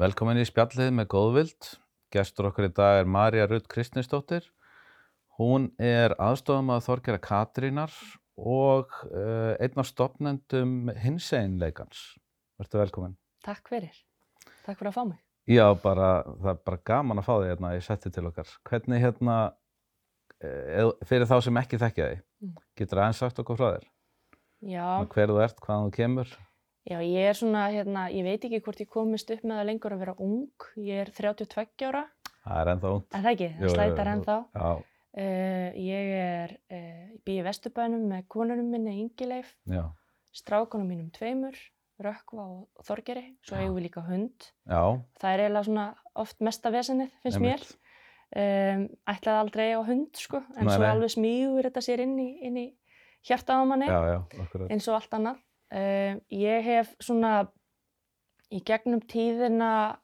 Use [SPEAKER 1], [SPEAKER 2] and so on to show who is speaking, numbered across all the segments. [SPEAKER 1] Velkomin í spjallið með góðvild. Gestur okkur í dag er Marja Rutt Kristinsdóttir. Hún er aðstofamaður Þorgera Katrínar og uh, einn af stopnendum hinseginleikans. Vertu velkomin.
[SPEAKER 2] Takk fyrir. Takk fyrir að fá mig.
[SPEAKER 1] Já, bara, það er bara gaman að fá þig hérna í setti til okkar. Hvernig hérna, eh, fyrir þá sem ekki þekkja þig,
[SPEAKER 2] Mm.
[SPEAKER 1] getur aðeins sagt okkur frá þér?
[SPEAKER 2] Já,
[SPEAKER 1] Hver þú ert, hvaðan þú kemur?
[SPEAKER 2] já, ég er svona, hérna, ég veit ekki hvort ég komist upp með það lengur að vera ung. Ég er 32 ára,
[SPEAKER 1] Það er ennþá ungt.
[SPEAKER 2] en það ekki,
[SPEAKER 1] Jú, jú,
[SPEAKER 2] það slætar
[SPEAKER 1] jú.
[SPEAKER 2] ennþá.
[SPEAKER 1] Já,
[SPEAKER 2] Uh, ég er, uh, ég býi í Vesturbænum með konunum minni Ingileif,
[SPEAKER 1] já,
[SPEAKER 2] strákunum mínum tveimur, Rökkva og Þorgeri, svo
[SPEAKER 1] Já.
[SPEAKER 2] eigum við líka hund.
[SPEAKER 1] já.
[SPEAKER 2] Það er eiginlega svona oft mesta vesenið, finnst mér.
[SPEAKER 1] einmitt.
[SPEAKER 2] Um, ætlaði aldrei á hund, sko, en
[SPEAKER 1] Nei,
[SPEAKER 2] svo
[SPEAKER 1] nei.
[SPEAKER 2] alveg smígur þetta sér inn í, inn í hjartað á manni.
[SPEAKER 1] Já, já, okkur.
[SPEAKER 2] eins og allt annað. Uh, ég hef svona í gegnum tíðina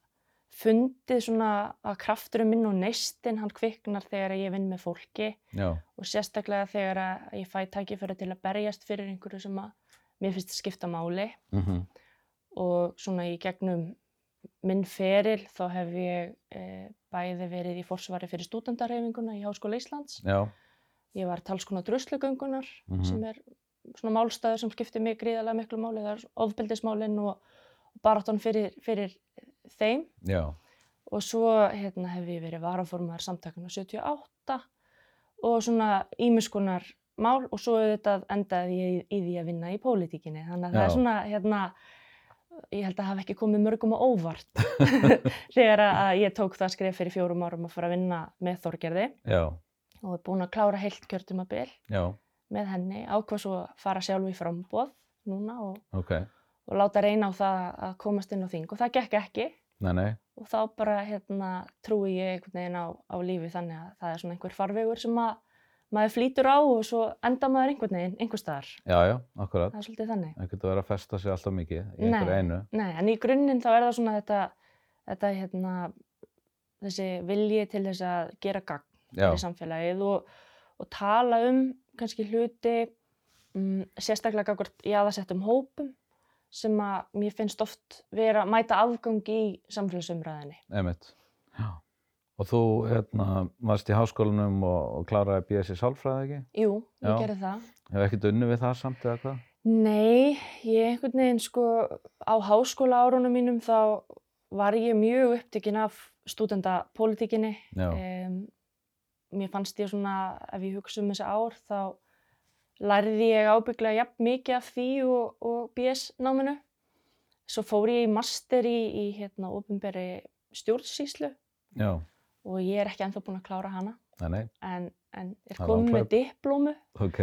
[SPEAKER 2] fundið svona að krafturinn minn og neistinn hann kviknar þegar ég vinn með fólki
[SPEAKER 1] Já,
[SPEAKER 2] og sérstaklega þegar að ég fæ tækifæri til að berjast fyrir einhverju sem að mér finnst skipta máli
[SPEAKER 1] mhm.
[SPEAKER 2] og svona í gegnum minn feril þá hef ég eh, bæði verið í forsvari fyrir stúdendarhefinguna í Háskóla Íslands.
[SPEAKER 1] Já,
[SPEAKER 2] Ég var talskona druslugöngunar
[SPEAKER 1] Mhm.
[SPEAKER 2] sem er svona málstæður sem skiptir mig gríðarlega miklu máli. Það er ofbildismálinn og baráttan fyrir, fyrir þeim.
[SPEAKER 1] já,
[SPEAKER 2] Og svo hérna, hef ég verið varaformaðar samtakana 78 og svona ímiskonar mál og svo auðvitað endaði ég í því að vinna í pólitíkinni. Þannig að það er
[SPEAKER 1] Já.
[SPEAKER 2] svona, hérna, ég held að hafa ekki komið mörgum á óvart þegar að ég tók það skref fyrir fjórum árum að fara að vinna með Þorgerði
[SPEAKER 1] já,
[SPEAKER 2] og er búin að klára heilt kjörtumabil
[SPEAKER 1] já,
[SPEAKER 2] með henni, ákvað svo að fara sjálf í frambóð núna og,
[SPEAKER 1] ok,
[SPEAKER 2] og láta reyna á það að komast inn á þing og það gekk ekki
[SPEAKER 1] nei, nei,
[SPEAKER 2] og þá bara hérna, trúi ég einhvern veginn á, á lífi þannig að það er svona einhver farvegur sem að maður flýtur á og svo enda maður einhvern veginn, einhver staðar.
[SPEAKER 1] já, já, akkurat.
[SPEAKER 2] Það er svolítið þannig.
[SPEAKER 1] Það getur verið að festa sig alltaf mikið í
[SPEAKER 2] Nei.
[SPEAKER 1] einhverju einu.
[SPEAKER 2] Nei, en í grunninn þá er það svona þetta, þetta hérna, þessi vilji til þess að gera gagn
[SPEAKER 1] Já,
[SPEAKER 2] fyrir samfélagið og, og tala um kannski hluti um, sérstaklega gagvart jaðarsettum hópum sem að mér finnst oft vera að mæta afgangi í samfélagsumræðinni.
[SPEAKER 1] einmitt. Já. Og þú, hérna, varst í háskólanum og, og kláraði BS í sálfræði, ekki?
[SPEAKER 2] Jú, ég
[SPEAKER 1] Já.
[SPEAKER 2] gerði það.
[SPEAKER 1] Hefur ekkert unni við það samt eða hvað?
[SPEAKER 2] Nei, ég einhvern veginn sko á háskóla árunum mínum þá var ég mjög upptekinn af stúdendapolítikinni.
[SPEAKER 1] Já,
[SPEAKER 2] Um, mér fannst ég svona, ef ég hugsa um þessi ár, þá lærði ég ábygglega jafn mikið af því og, og BS-náminu. Svo fór ég í master í, í hérna, ofinberi stjórnsýslu
[SPEAKER 1] já,
[SPEAKER 2] og ég er ekki ennþá búin að klára hana,
[SPEAKER 1] nei, nei,
[SPEAKER 2] en, en
[SPEAKER 1] Það
[SPEAKER 2] er
[SPEAKER 1] er
[SPEAKER 2] komin
[SPEAKER 1] langt
[SPEAKER 2] með diplómu.
[SPEAKER 1] ok,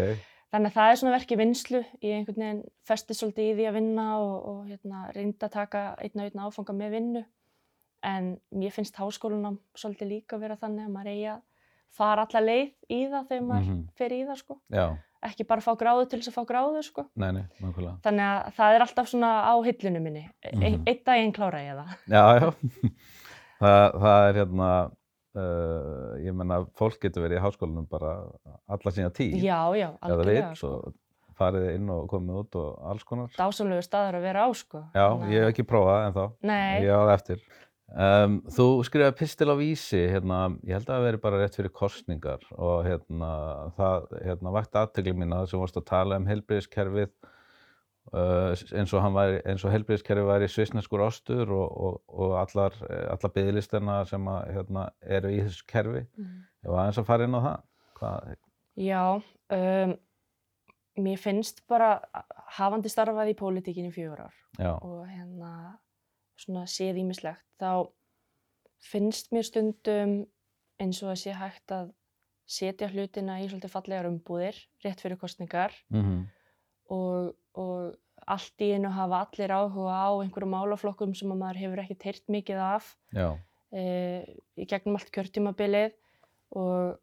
[SPEAKER 2] Þannig að það er svona verkið vinslu. Ég einhvern veginn festið svolítið í því að vinna og, og hérna, reynda að taka einn og einn áfanga með vinnu. En mér finnst háskólanum svolítið líka vera þannig að maður eigi að fara alla leið í það þegar maður
[SPEAKER 1] Mhm.
[SPEAKER 2] fer í það, sko.
[SPEAKER 1] já,
[SPEAKER 2] Ekki bara fá gráðu til þess að fá gráðu, sko.
[SPEAKER 1] nei, nei, nákvæmlega.
[SPEAKER 2] Þannig að það er alltaf svona á hillinu minni. Mm
[SPEAKER 1] Mhm.
[SPEAKER 2] Einn daginn klára ég það.
[SPEAKER 1] Já, já, það, það er hérna, uh, ég menna, fólk getur verið í háskólanum bara alla sína tíð.
[SPEAKER 2] Já, já,
[SPEAKER 1] eða
[SPEAKER 2] algjörlega,
[SPEAKER 1] vill
[SPEAKER 2] sko.
[SPEAKER 1] og farið inn og komið út og alls konar.
[SPEAKER 2] Dásamlegu staðar að vera á, sko.
[SPEAKER 1] Já,
[SPEAKER 2] Þannig að-
[SPEAKER 1] ég hef ekki prófað en þá,
[SPEAKER 2] Nei,
[SPEAKER 1] ég á það eftir. Um, þú skrifaði pistil á vísi, hérna, ég held að það veri bara rétt fyrir kostningar og hérna, það hérna, vakti aðtökli mína þar sem vorst að tala um helbriðiskerfið uh, eins og, hann væri, eins og helbriðiskerfið væri svisneskur ostur og, og, og allar, allar byggðlistina sem að, hérna, eru í þessu kerfi.
[SPEAKER 2] Mhm.
[SPEAKER 1] Ég var aðeins að fara inn á það. Hvað,
[SPEAKER 2] Já, um, mér finnst bara hafandi starfað í pólitíkinni í fjögur ár
[SPEAKER 1] já,
[SPEAKER 2] og hérna svona séð ímislegt, þá finnst mér stundum eins og að sé hægt að setja hlutina í svolítið fallegar umbúðir rétt fyrir kostningar
[SPEAKER 1] mhm,
[SPEAKER 2] og, og allt í einu hafa allir áhuga á einhverjum málaflokkum sem að maður hefur ekki teirt mikið af
[SPEAKER 1] já,
[SPEAKER 2] uh, í gegnum allt kjörtímabilið og,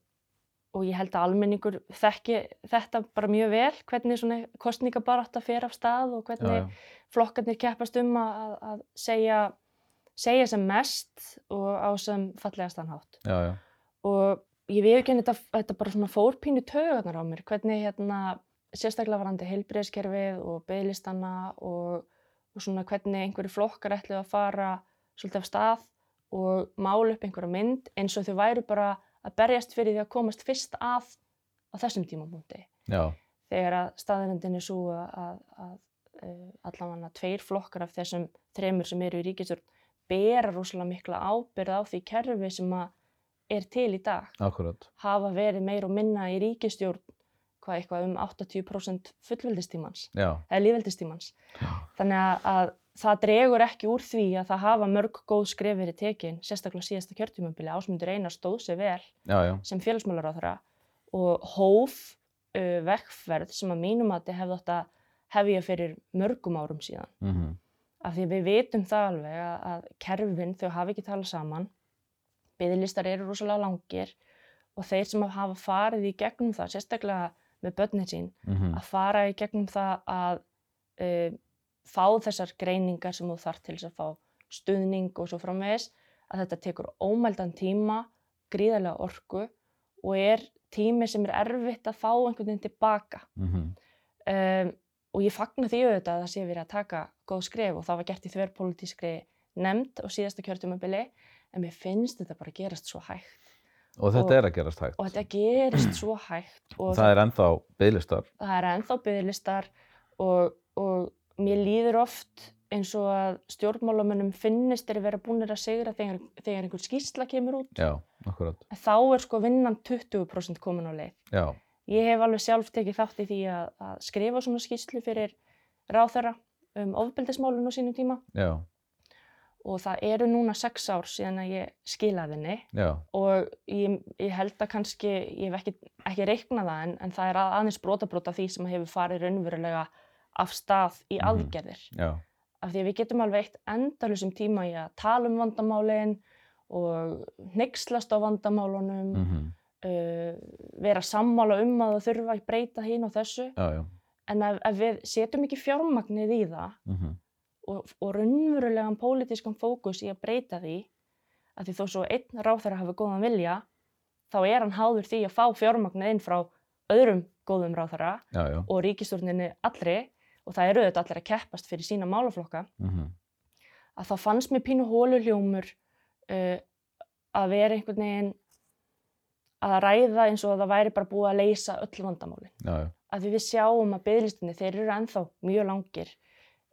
[SPEAKER 2] og ég held að almenningur þekki þetta bara mjög vel, hvernig svona kostningabarátta fer af stað og
[SPEAKER 1] já,
[SPEAKER 2] hvernig
[SPEAKER 1] já,
[SPEAKER 2] flokkarnir keppast um að, að- að segja, segja sem mest og á sem fallegastan hátt.
[SPEAKER 1] já, já,
[SPEAKER 2] Og ég viðurkenni þetta, þetta bara svona fórpínu tögarnar á mér, hvernig hérna sérstaklega varandi heilbreyðskerfið og beðlistana og, og svona hvernig einhverju flokkar ætlu að fara svolítið af stað og mála upp einhverja mynd eins og þau væru bara að berjast fyrir því að komast fyrst að á þessum tímamúndi
[SPEAKER 1] já,
[SPEAKER 2] þegar að staðarendin er svo að, að, að allavega tveir flokkar af þessum þremur sem eru í ríkistjórn bera rosalega mikla ábyrð á því kerfi sem að er til í dag
[SPEAKER 1] akkurat.
[SPEAKER 2] hafa verið meir og minna í ríkistjórn hvað eitthvað um 80% fullveldistímans
[SPEAKER 1] Já,
[SPEAKER 2] eða lífveldistímans
[SPEAKER 1] já,
[SPEAKER 2] þannig að, að það dregur ekki úr því að það hafa mörg góð skref verið tekin sérstaklega síðasta kjörtjumömbili ásmundur einar stóð sér vel
[SPEAKER 1] já, já,
[SPEAKER 2] sem félagsmálaráþara og hóf uh, vekkferð sem að mínum að þið hefði átt að hefja fyrir mörgum árum síðan.
[SPEAKER 1] mhm,
[SPEAKER 2] Af því að við vitum það alveg að, að kerfin þau hafi ekki talað saman, byðilistar eru rosalega langir og þeir sem hafa farið í gegnum það, sérstaklega með börnin sín,
[SPEAKER 1] mhm,
[SPEAKER 2] að fara í gegnum það að uh, fá þessar greiningar sem þú þarf til þess að fá stuðning og svo framvegis að þetta tekur ómældan tíma, gríðarlega orku og er tími sem er erfitt að fá einhvern veginn tilbaka.
[SPEAKER 1] mhm,
[SPEAKER 2] Um, og ég fagna því auðvitað að það sé verið að taka góð skref og það var gert í þverpolítískri nefnd og síðasta kjörtumabili en mér finnst þetta bara gerast svo hægt
[SPEAKER 1] og þetta
[SPEAKER 2] og-
[SPEAKER 1] er að gerast hægt.
[SPEAKER 2] og þetta gerist svo hægt og
[SPEAKER 1] það er ennþá bygglistar.
[SPEAKER 2] það er ennþá byggðlistar og, og mér líður oft eins og að stjórnmálamönnum finnist þeir vera búinir að sigra þegar, þegar einhver skýrsla kemur út.
[SPEAKER 1] Já, akkurat.
[SPEAKER 2] En Þá er sko vinnan 20% komin á leið.
[SPEAKER 1] Já,
[SPEAKER 2] Ég hef alveg sjálf tekið þátt í því að, að skrifa svona skýrslu fyrir ráþara um ofbeldismálun á sínum tíma
[SPEAKER 1] já,
[SPEAKER 2] og það eru núna sex ár síðan að ég skilaði henni
[SPEAKER 1] já,
[SPEAKER 2] og ég, ég held að kannski, ég hef ekki, ekki reiknað það en, en það er að- aðeins brotabrota því sem hefur farið raunverulega af stað í
[SPEAKER 1] Mhm.
[SPEAKER 2] aðgerðir.
[SPEAKER 1] já,
[SPEAKER 2] Af því að við getum alveg eitt endalusum tíma í að tala um vandamálin og neykslast á vandamálunum,
[SPEAKER 1] mhm,
[SPEAKER 2] uh, vera sammála um að það þurfa að breyta hín og þessu.
[SPEAKER 1] já, já,
[SPEAKER 2] En ef, ef við setjum ekki fjármagnið í það
[SPEAKER 1] mhm,
[SPEAKER 2] og, og raunverulegan pólitískan fókus í að breyta því að því þó svo einn ráþara hafi góðan vilja þá er hann háður því að fá fjármagnið inn frá öðrum góðum ráþara
[SPEAKER 1] já, já,
[SPEAKER 2] og ríkistjórninni allri og það eru auðvitað allir að keppast fyrir sína málaflokka
[SPEAKER 1] mhm,
[SPEAKER 2] að þá fannst mér pínu hóluljómur uh, að vera einhvern veginn að ræða eins og að það væri bara búið að leysa öll vandamálin
[SPEAKER 1] já, já,
[SPEAKER 2] að við sjáum að bygglistinni, þeir eru ennþá mjög langir,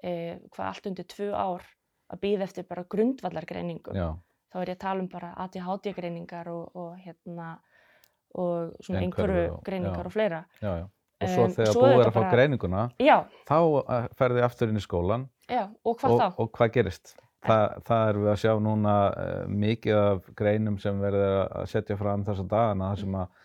[SPEAKER 2] eh, hvað allt undir tvö ár að býða eftir bara grundvallargreiningum.
[SPEAKER 1] já,
[SPEAKER 2] Þá er ég að tala um bara ADHD-greiningar og, og, hérna, og svona
[SPEAKER 1] Einhverfu
[SPEAKER 2] einhverju
[SPEAKER 1] og-
[SPEAKER 2] greiningar
[SPEAKER 1] já.
[SPEAKER 2] og fleira.
[SPEAKER 1] já, já. Og svo
[SPEAKER 2] Em,
[SPEAKER 1] þegar
[SPEAKER 2] svo
[SPEAKER 1] búið
[SPEAKER 2] auðvitað
[SPEAKER 1] er að fá
[SPEAKER 2] bara-
[SPEAKER 1] greininguna,
[SPEAKER 2] Já,
[SPEAKER 1] þá eh, ferði aftur inn í skólan
[SPEAKER 2] já, og hvað
[SPEAKER 1] og,
[SPEAKER 2] þá?
[SPEAKER 1] og hvað gerist? Þa, það erum við að sjá núna uh, mikið af greinum sem verður að setja fram þessa dagana þar sem að,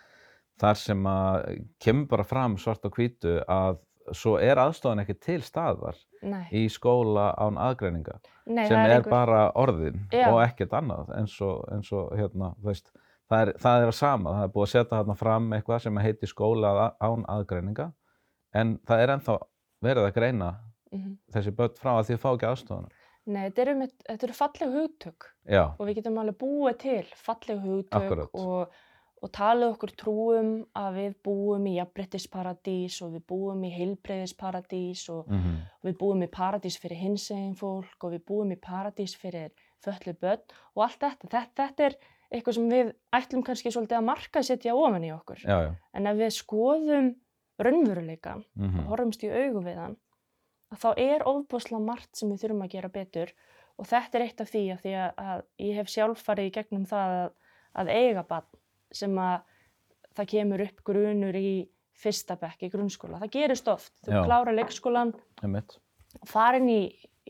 [SPEAKER 1] þar sem að kemur bara fram svart og hvítu að svo er aðstofan ekki til staðar
[SPEAKER 2] Nei,
[SPEAKER 1] í skóla án aðgreininga
[SPEAKER 2] Nei
[SPEAKER 1] sem
[SPEAKER 2] það
[SPEAKER 1] er
[SPEAKER 2] er einhver,
[SPEAKER 1] bara orðin
[SPEAKER 2] Já.
[SPEAKER 1] og ekkert annað eins og, eins og hérna, þú veist, það er, það er að sama, það er búið að setja þarna fram eitthvað sem heitir skóla að- án aðgreininga en það er ennþá verið að greina
[SPEAKER 2] Mhm.
[SPEAKER 1] þessi börn frá að því að fá ekki aðstofan
[SPEAKER 2] Nei, þetta eru, með, þetta eru falleg hugtök
[SPEAKER 1] Já,
[SPEAKER 2] og við getum alveg búið til falleg hugtök
[SPEAKER 1] Akkúrat.
[SPEAKER 2] og, og talað okkur trúum að við búum í jafnbrettisparadís og við búum í heilbreyðisparadís og
[SPEAKER 1] mm
[SPEAKER 2] við búum í paradís fyrir hinsegin fólk og við búum í paradís fyrir föllu börn og allt þetta. þetta. Þetta er eitthvað sem við ætlum kannski svolítið að marka setja ofan í okkur.
[SPEAKER 1] já, já.
[SPEAKER 2] En ef við skoðum raunveruleikan
[SPEAKER 1] Mm
[SPEAKER 2] og horfumst í augu við hann, að þá er ofbúslega margt sem við þurfum að gera betur og þetta er eitt af því að, því að, að ég hef sjálf farið í gegnum það að, að eiga barn sem að það kemur upp grunur í fyrsta bekk í grunnskóla. Það gerist oft. Þú
[SPEAKER 1] Já.
[SPEAKER 2] klára leikskólan
[SPEAKER 1] Einmitt.
[SPEAKER 2] fara inn í,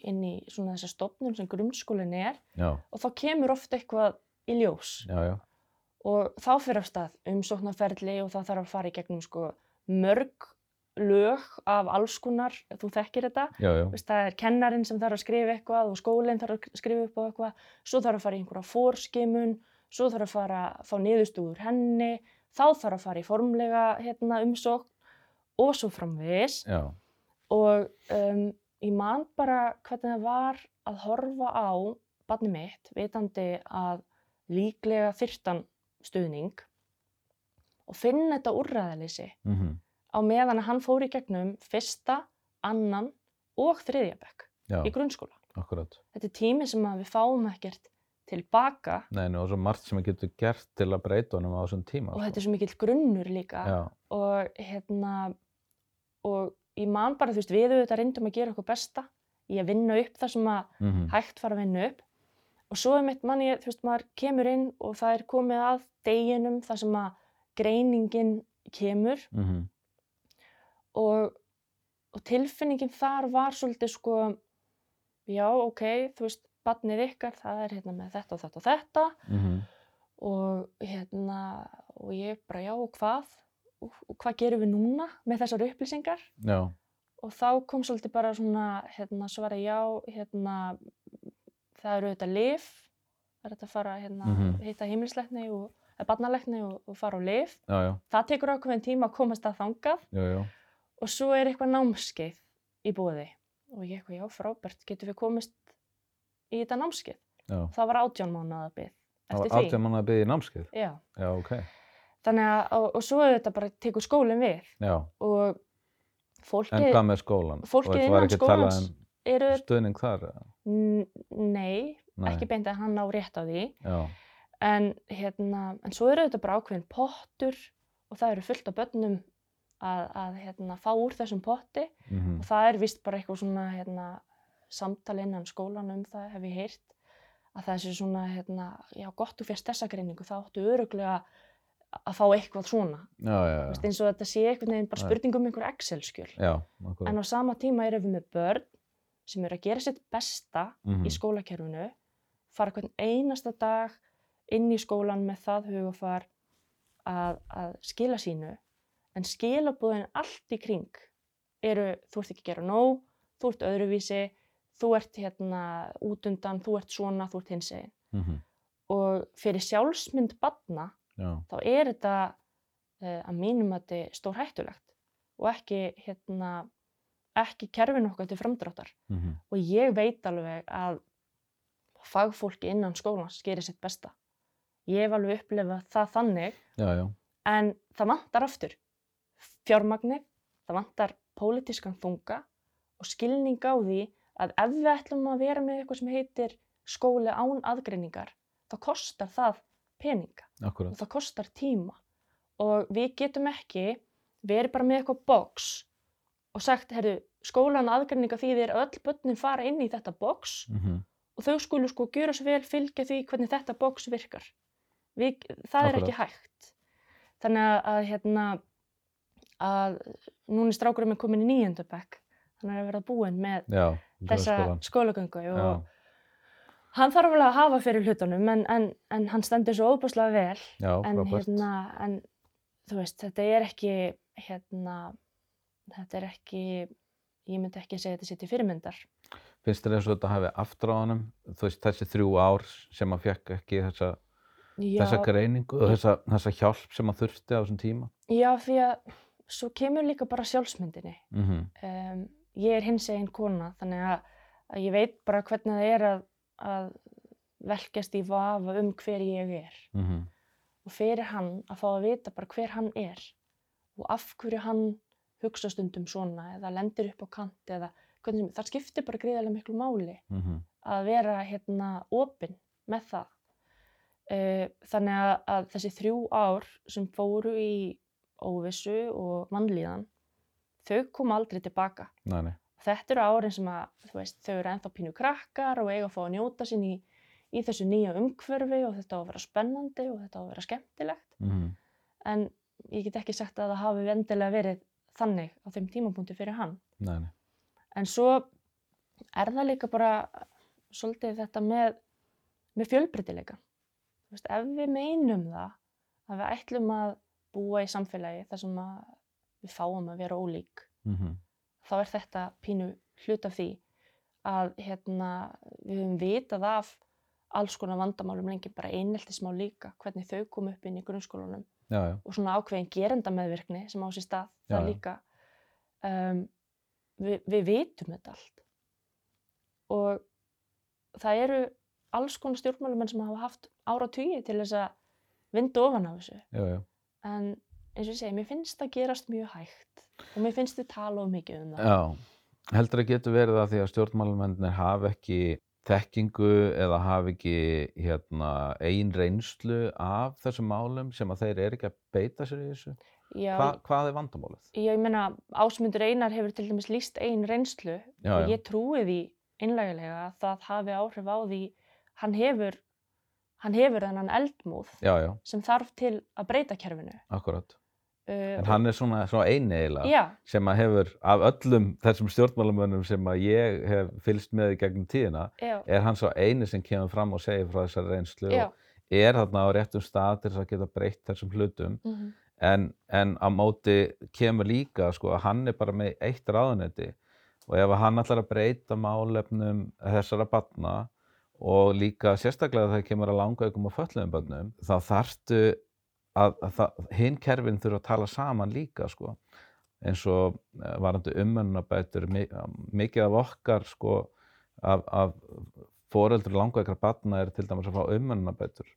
[SPEAKER 2] inn í svona þessa stofnum sem grunnskólinn er
[SPEAKER 1] Já,
[SPEAKER 2] og þá kemur oft eitthvað í ljós
[SPEAKER 1] já, já.
[SPEAKER 2] og þá fyrir af stað umsóknarferli og það þarf að fara í gegnum sko mörg lög af allskunar, þú þekkir þetta,
[SPEAKER 1] já, já.
[SPEAKER 2] Þú veist, það er kennarinn sem þarf að skrifa eitthvað og skólinn þarf að skrifa upp á eitthvað, svo þarf að fara í einhverja fórskimun, svo þarf að fara að fá niðurstöður henni, þá þarf að fara í formlega hérna, umsókn og svo framvegis
[SPEAKER 1] Já,
[SPEAKER 2] og um, ég man bara hvernig það var að horfa á barni mitt vitandi að líklega þyrtan stuðning og finna þetta úrræðalýsi
[SPEAKER 1] mm
[SPEAKER 2] á meðan að hann fór í gegnum fyrsta, annan og þriðja bekk
[SPEAKER 1] já,
[SPEAKER 2] í grunnskóla.
[SPEAKER 1] akkurat.
[SPEAKER 2] Þetta er tími sem að við fáum ekkert tilbaka
[SPEAKER 1] Nei, nú, og svo margt sem við getum gert til að breyta honum á þessum tíma. sko.
[SPEAKER 2] og þetta er svo mikill grunnur líka
[SPEAKER 1] Já,
[SPEAKER 2] og hérna og ég man bara, þú veist, við auðvitað reyndum að gera okkur besta í að vinna upp það sem að
[SPEAKER 1] mm
[SPEAKER 2] hægt var að vinna upp og svo er mitt manni, þú veist, maður kemur inn og það er komið að deginum þar sem að greiningin kemur
[SPEAKER 1] Mhm.
[SPEAKER 2] og, og tilfinningin þar var svolítið sko já, ok, þú veist, barnið ykkar það er hérna með þetta og þetta og þetta
[SPEAKER 1] Mhm.
[SPEAKER 2] og hérna og ég bara já og hvað og, og hvað gerum við núna með þessar upplýsingar
[SPEAKER 1] já,
[SPEAKER 2] og þá kom svolítið bara svona hérna svara já hérna það eru auðvitað lif það er þetta að fara hérna
[SPEAKER 1] Mhm.
[SPEAKER 2] hitta heimilisleikni og eða barnalekni og, og fara á lif
[SPEAKER 1] já, já,
[SPEAKER 2] það tekur ákveðin tíma að komast að þangað
[SPEAKER 1] já, já,
[SPEAKER 2] og svo er eitthvað námskeið í bóði og ég eitthvað já frábært getum við komist í þetta námskeið
[SPEAKER 1] já.
[SPEAKER 2] það var átján mánuða bið
[SPEAKER 1] Það
[SPEAKER 2] eftir
[SPEAKER 1] var
[SPEAKER 2] því
[SPEAKER 1] átján manna að byggja í námskeið.
[SPEAKER 2] já
[SPEAKER 1] Já, ok.
[SPEAKER 2] þannig að og, og svo auðvitað bara tekur skólinn við
[SPEAKER 1] Já,
[SPEAKER 2] og
[SPEAKER 1] en
[SPEAKER 2] fólkið
[SPEAKER 1] hvað með skólan?
[SPEAKER 2] fólkið
[SPEAKER 1] Og
[SPEAKER 2] innan
[SPEAKER 1] Var
[SPEAKER 2] skólans
[SPEAKER 1] ekki
[SPEAKER 2] eru
[SPEAKER 1] talað um stuðning þar? eða?
[SPEAKER 2] N- Nei,
[SPEAKER 1] Nei.
[SPEAKER 2] ekki beint að hann á rétt á því.
[SPEAKER 1] Já,
[SPEAKER 2] En, hérna, en svo eru þetta bara ákveðin pottur og það eru fullt af börnum að, að hérna, fá úr þessum potti.
[SPEAKER 1] mhm,
[SPEAKER 2] Og það er vist bara eitthvað svona hérna, samtal innan skólan um það hef ég heyrt. Að það sé svona, hérna, já gott þú férst þessa greiningu, þá áttu öruglega að fá eitthvað svona.
[SPEAKER 1] já, já,
[SPEAKER 2] Þú veist
[SPEAKER 1] já.
[SPEAKER 2] eins og þetta sé einhvern veginn bara
[SPEAKER 1] Já.
[SPEAKER 2] spurning um einhver Excel-skjöl.
[SPEAKER 1] Já,
[SPEAKER 2] En
[SPEAKER 1] akkurat.
[SPEAKER 2] á sama tíma erum við með börn sem eru að gera sitt besta
[SPEAKER 1] Mhm,
[SPEAKER 2] í skólakerfinu, fara hvern einasta dag inn í skólan með það hugafar að, að skila sínu, en skilabúðin allt í kring eru, þú ert ekki að gera nóg, þú ert öðruvísi, þú ert hérna út undan, þú ert svona, þú ert hins einn.
[SPEAKER 1] mhm,
[SPEAKER 2] Og fyrir sjálfsmynd barna
[SPEAKER 1] Já,
[SPEAKER 2] þá er þetta uh, að mínum að þetta stór hættulegt og ekki, hérna, ekki kerfin okkar til framdráttar.
[SPEAKER 1] mhm,
[SPEAKER 2] Og ég veit alveg að fagfólki innan skólans gerir sitt besta. Ég hef alveg upplefað það þannig,
[SPEAKER 1] já, já,
[SPEAKER 2] en það vantar aftur fjármagnir, það vantar pólitískan þunga og skilning á því að ef við ætlum að vera með eitthvað sem heitir skóli án aðgreiningar, þá kostar það peninga og
[SPEAKER 1] akkurat.
[SPEAKER 2] það kostar tíma. Og við getum ekki verið bara með eitthvað box og sagt, herru, skólan aðgreininga þýðir að öll börnin fara inn í þetta box
[SPEAKER 1] mhm,
[SPEAKER 2] og þau skulu sko gjöra svo vel fylgja því hvernig þetta box virkar. Við, það er ekki hægt. Þannig að, að hérna, að núna er strákurinn minn komin í nýjöndabæk, þannig að hann er að vera búinn með
[SPEAKER 1] Já,
[SPEAKER 2] þessa
[SPEAKER 1] grunnskólan.
[SPEAKER 2] skólagöngu og
[SPEAKER 1] Já,
[SPEAKER 2] hann þarf alveg að hafa fyrir hlutunum en, en, en hann stendur svo óbúslega vel
[SPEAKER 1] já,
[SPEAKER 2] en
[SPEAKER 1] frábært.
[SPEAKER 2] hérna, en þú veist, þetta er ekki, hérna, þetta er ekki, ég myndi ekki segja þetta sitt í fyrirmyndar.
[SPEAKER 1] Finnst þér eins og þetta hafi aftur á honum, þú veist, þessi þrjú ár sem að fekk ekki þessa,
[SPEAKER 2] Já,
[SPEAKER 1] þessa greiningu og þessa, þessa hjálp sem að þurfti á þessum tíma?
[SPEAKER 2] já, því að svo kemur líka bara sjálfsmyndinni.
[SPEAKER 1] Mhm,
[SPEAKER 2] Um, ég er hins eginn kona, þannig að, að ég veit bara hvernig það er að, að velkjast í vafa um hver ég er.
[SPEAKER 1] mhm,
[SPEAKER 2] Og fyrir hann að fá að vita bara hver hann er og af hverju hann hugsa stundum svona eða lendir upp á kant eða hvernig sem, það skiptir bara greiðarlega miklu máli.
[SPEAKER 1] mhm,
[SPEAKER 2] að vera hérna opinn með það. Uh, þannig að, að þessi þrjú ár sem fóru í óvissu og mannlíðan, þau koma aldrei tilbaka.
[SPEAKER 1] næ, næ,
[SPEAKER 2] Þetta eru árin sem að, þú veist, þau eru ennþá pínu krakkar og eiga að fá að njóta sín í, í þessu nýja umhverfi og þetta á að vera spennandi og þetta á að vera skemmtilegt.
[SPEAKER 1] mhm.
[SPEAKER 2] En ég get ekki sagt að það hafi vendilega verið þannig á þeim tímapunkti fyrir hann.
[SPEAKER 1] Nei, nei.
[SPEAKER 2] En svo er það líka bara svolítið þetta með, með fjölbreytileika. Þú Veist, ef við meinum það að við ætlum að búa í samfélagi þar sem að við fáum að vera ólík,
[SPEAKER 1] mhm,
[SPEAKER 2] þá er þetta pínu hlut af því að hérna, við höfum vitað af alls konar vandamálum lengi, bara eineltismál líka, hvernig þau kom upp inn í grunnskólanum
[SPEAKER 1] Já, já,
[SPEAKER 2] og svona ákveðin gerendameðvirkni sem á sér stað,
[SPEAKER 1] Já,
[SPEAKER 2] það
[SPEAKER 1] já.
[SPEAKER 2] líka um, við, við vitum þetta allt og það eru alls konar stjórnmálumenn sem hafa haft áratugi til þess að vinda ofan af þessu
[SPEAKER 1] já, já.
[SPEAKER 2] en eins og ég segi, mér finnst það gerast mjög hægt og mér finnst þið tala of mikið um það
[SPEAKER 1] Já, heldur að getur verið að því að stjórnmálamennir hafa ekki þekkingu eða hafa ekki hérna, ein reynslu af þessum málum sem að þeir eru ekki að beita sér í þessu?
[SPEAKER 2] Já,
[SPEAKER 1] Hva, hvað er vandamálið?
[SPEAKER 2] já, ég meina ásmundur Einar hefur til dæmis líst einn reynslu
[SPEAKER 1] Já,
[SPEAKER 2] og
[SPEAKER 1] já,
[SPEAKER 2] ég trúi því einlægilega að það hafi áhrif á því hann hefur, hann hefur þennan eldmúð
[SPEAKER 1] já, já,
[SPEAKER 2] sem þarf til að breyta kerfinu.
[SPEAKER 1] akkurat.
[SPEAKER 2] Uh,
[SPEAKER 1] En hann er svona, svona eini eiginlega
[SPEAKER 2] Já,
[SPEAKER 1] sem að hefur af öllum þessum stjórnmálamönnum sem að ég hef fylst með í gegnum tíðina
[SPEAKER 2] já,
[SPEAKER 1] er hann svo eini sem kemur fram og segir frá þessari reynslu
[SPEAKER 2] já.
[SPEAKER 1] og er þarna á réttum stað til þess að geta breytt þessum hlutum
[SPEAKER 2] mhm,
[SPEAKER 1] en, en á móti kemur líka sko að hann er bara með eitt ráðunetti og ef hann ætlar að breyta málefnum þessara batna og líka sérstaklega þegar kemur að langa ykkur á föllum bönnum þá þarftu að, að hinn kerfin þurfa að tala saman líka sko eins og eh, varandi umönnabætur mikið af okkar sko af, af foreldur langa ykkur batna er til dæmis að fá umönnabætur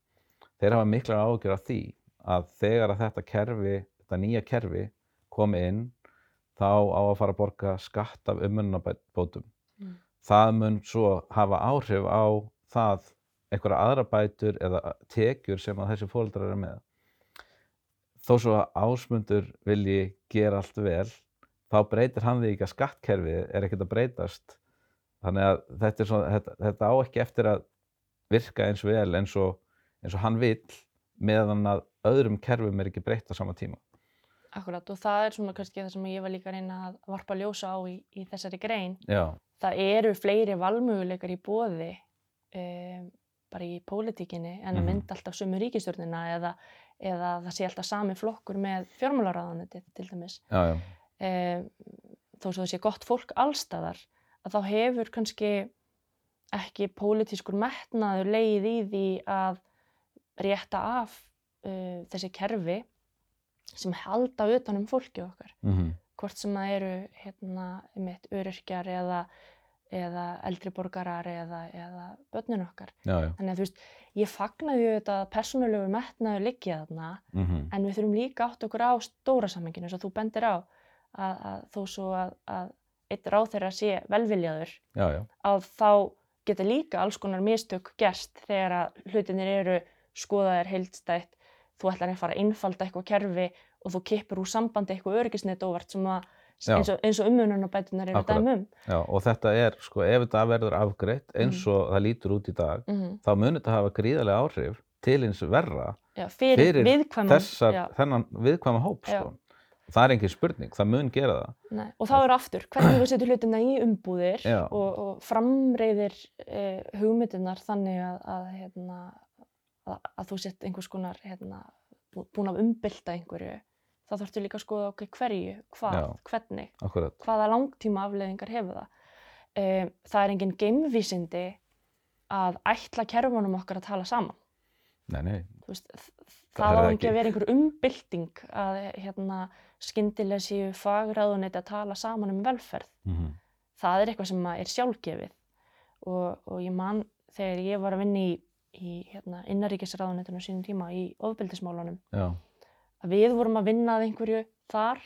[SPEAKER 1] þeir hafa miklar áhugjur af því að þegar að þetta kerfi, þetta nýja kerfi komi inn, þá á að fara að borga skatt af umönnabótum.
[SPEAKER 2] Mm.
[SPEAKER 1] Það mun svo hafa áhrif á það einhverja aðra bætur eða tekjur sem að þessi fóreldrar eru með. Þó svo að ásmundur vilji gera allt vel, þá breytir hann því ekki að skattkerfið er ekkert að breytast. Þannig að þetta, er svona, þetta, þetta á ekki eftir að virka eins vel eins og, eins og hann vill meðan að öðrum kerfum er ekki breytt á sama tíma.
[SPEAKER 2] Akkurat og það er svona kannski það sem ég var líka að reyna að varpa ljósa á í, í þessari grein.
[SPEAKER 1] Já,
[SPEAKER 2] Það eru fleiri valmöguleikar í bóði um, bara í pólitíkinni en
[SPEAKER 1] Mhm.
[SPEAKER 2] að mynda alltaf sömu ríkistjórnina eða, eða það sé alltaf sami flokkur með fjármálaráðanetið til dæmis.
[SPEAKER 1] já, já.
[SPEAKER 2] Um, þó svo það sé gott fólk allstaðar að þá hefur kannski ekki pólitískur metnaður leið í því að rétta af uh, þessi kerfi sem halda utan um fólkið okkar
[SPEAKER 1] Mm
[SPEAKER 2] hvort sem það eru hérna, mitt öryrkjar eða, eða eldri borgarar eða, eða börnin okkar.
[SPEAKER 1] já, já.
[SPEAKER 2] Þannig að þú veist, ég fagnaði auðvitað að persónulegu metnaður liggja þarna
[SPEAKER 1] Mm
[SPEAKER 2] en við þurfum líka átt okkur á stóra sammenginu eins og þú bendir á að, að þó svo að, að eitt ráð þeirra sé velviljaður
[SPEAKER 1] já, já.
[SPEAKER 2] að þá geta líka alls konar mistök gerst þegar að hlutinir eru skoðaðir heildstætt, þú ætlar að fara að innfalda eitthvað kerfi og þú kippur úr sambandi eitthvað öryggisneitt óvart sem að
[SPEAKER 1] Já.
[SPEAKER 2] eins og, eins og ummununabætunar eru um.
[SPEAKER 1] Akkurat.
[SPEAKER 2] dæmum.
[SPEAKER 1] já. Og þetta er, sko, ef þetta verður afgreitt
[SPEAKER 2] Mhm.
[SPEAKER 1] eins og það lítur út í dag,
[SPEAKER 2] Mm
[SPEAKER 1] þá mun þetta hafa gríðarlega áhrif til eins verra
[SPEAKER 2] já, fyrir,
[SPEAKER 1] Fyrir
[SPEAKER 2] viðkvæmum.
[SPEAKER 1] þessar,
[SPEAKER 2] Mhm, já,
[SPEAKER 1] þennan viðkvæma hóp,
[SPEAKER 2] Já.
[SPEAKER 1] sko. Það er engin spurning, það mun gera það.
[SPEAKER 2] nei. og þá er aftur, hvernig þú setur hlutina í umbúðir
[SPEAKER 1] Já.
[SPEAKER 2] og, og framreiðir eh, hugmyndunar þannig að, að, hérna, að, að þú sett einhvers konar hérna, bú- búin að umbylta einhverju. Það þarftu líka að skoða okkur hverju, hvað,
[SPEAKER 1] Já.
[SPEAKER 2] hvernig.
[SPEAKER 1] Akkurat.
[SPEAKER 2] hvaða langtíma afleiðingar hefur það. Um, það er engin geimvísindi að ætla kerfunum okkar að tala saman.
[SPEAKER 1] Nei, nei.
[SPEAKER 2] Þú Veist, það,
[SPEAKER 1] Það
[SPEAKER 2] það
[SPEAKER 1] er
[SPEAKER 2] á
[SPEAKER 1] það
[SPEAKER 2] ekki að
[SPEAKER 1] ekki.
[SPEAKER 2] vera einhver umbylting að hérna, skyndilega séu fagræðunit að tala saman um velferð.
[SPEAKER 1] Mm
[SPEAKER 2] Það er eitthvað sem að er sjálfgefið og, og ég man þegar ég var að vinna í, í hérna, innaríkisræðunitunum sínum tíma í ofbildismálunum
[SPEAKER 1] Já,
[SPEAKER 2] að við vorum að vinna að einhverju þar,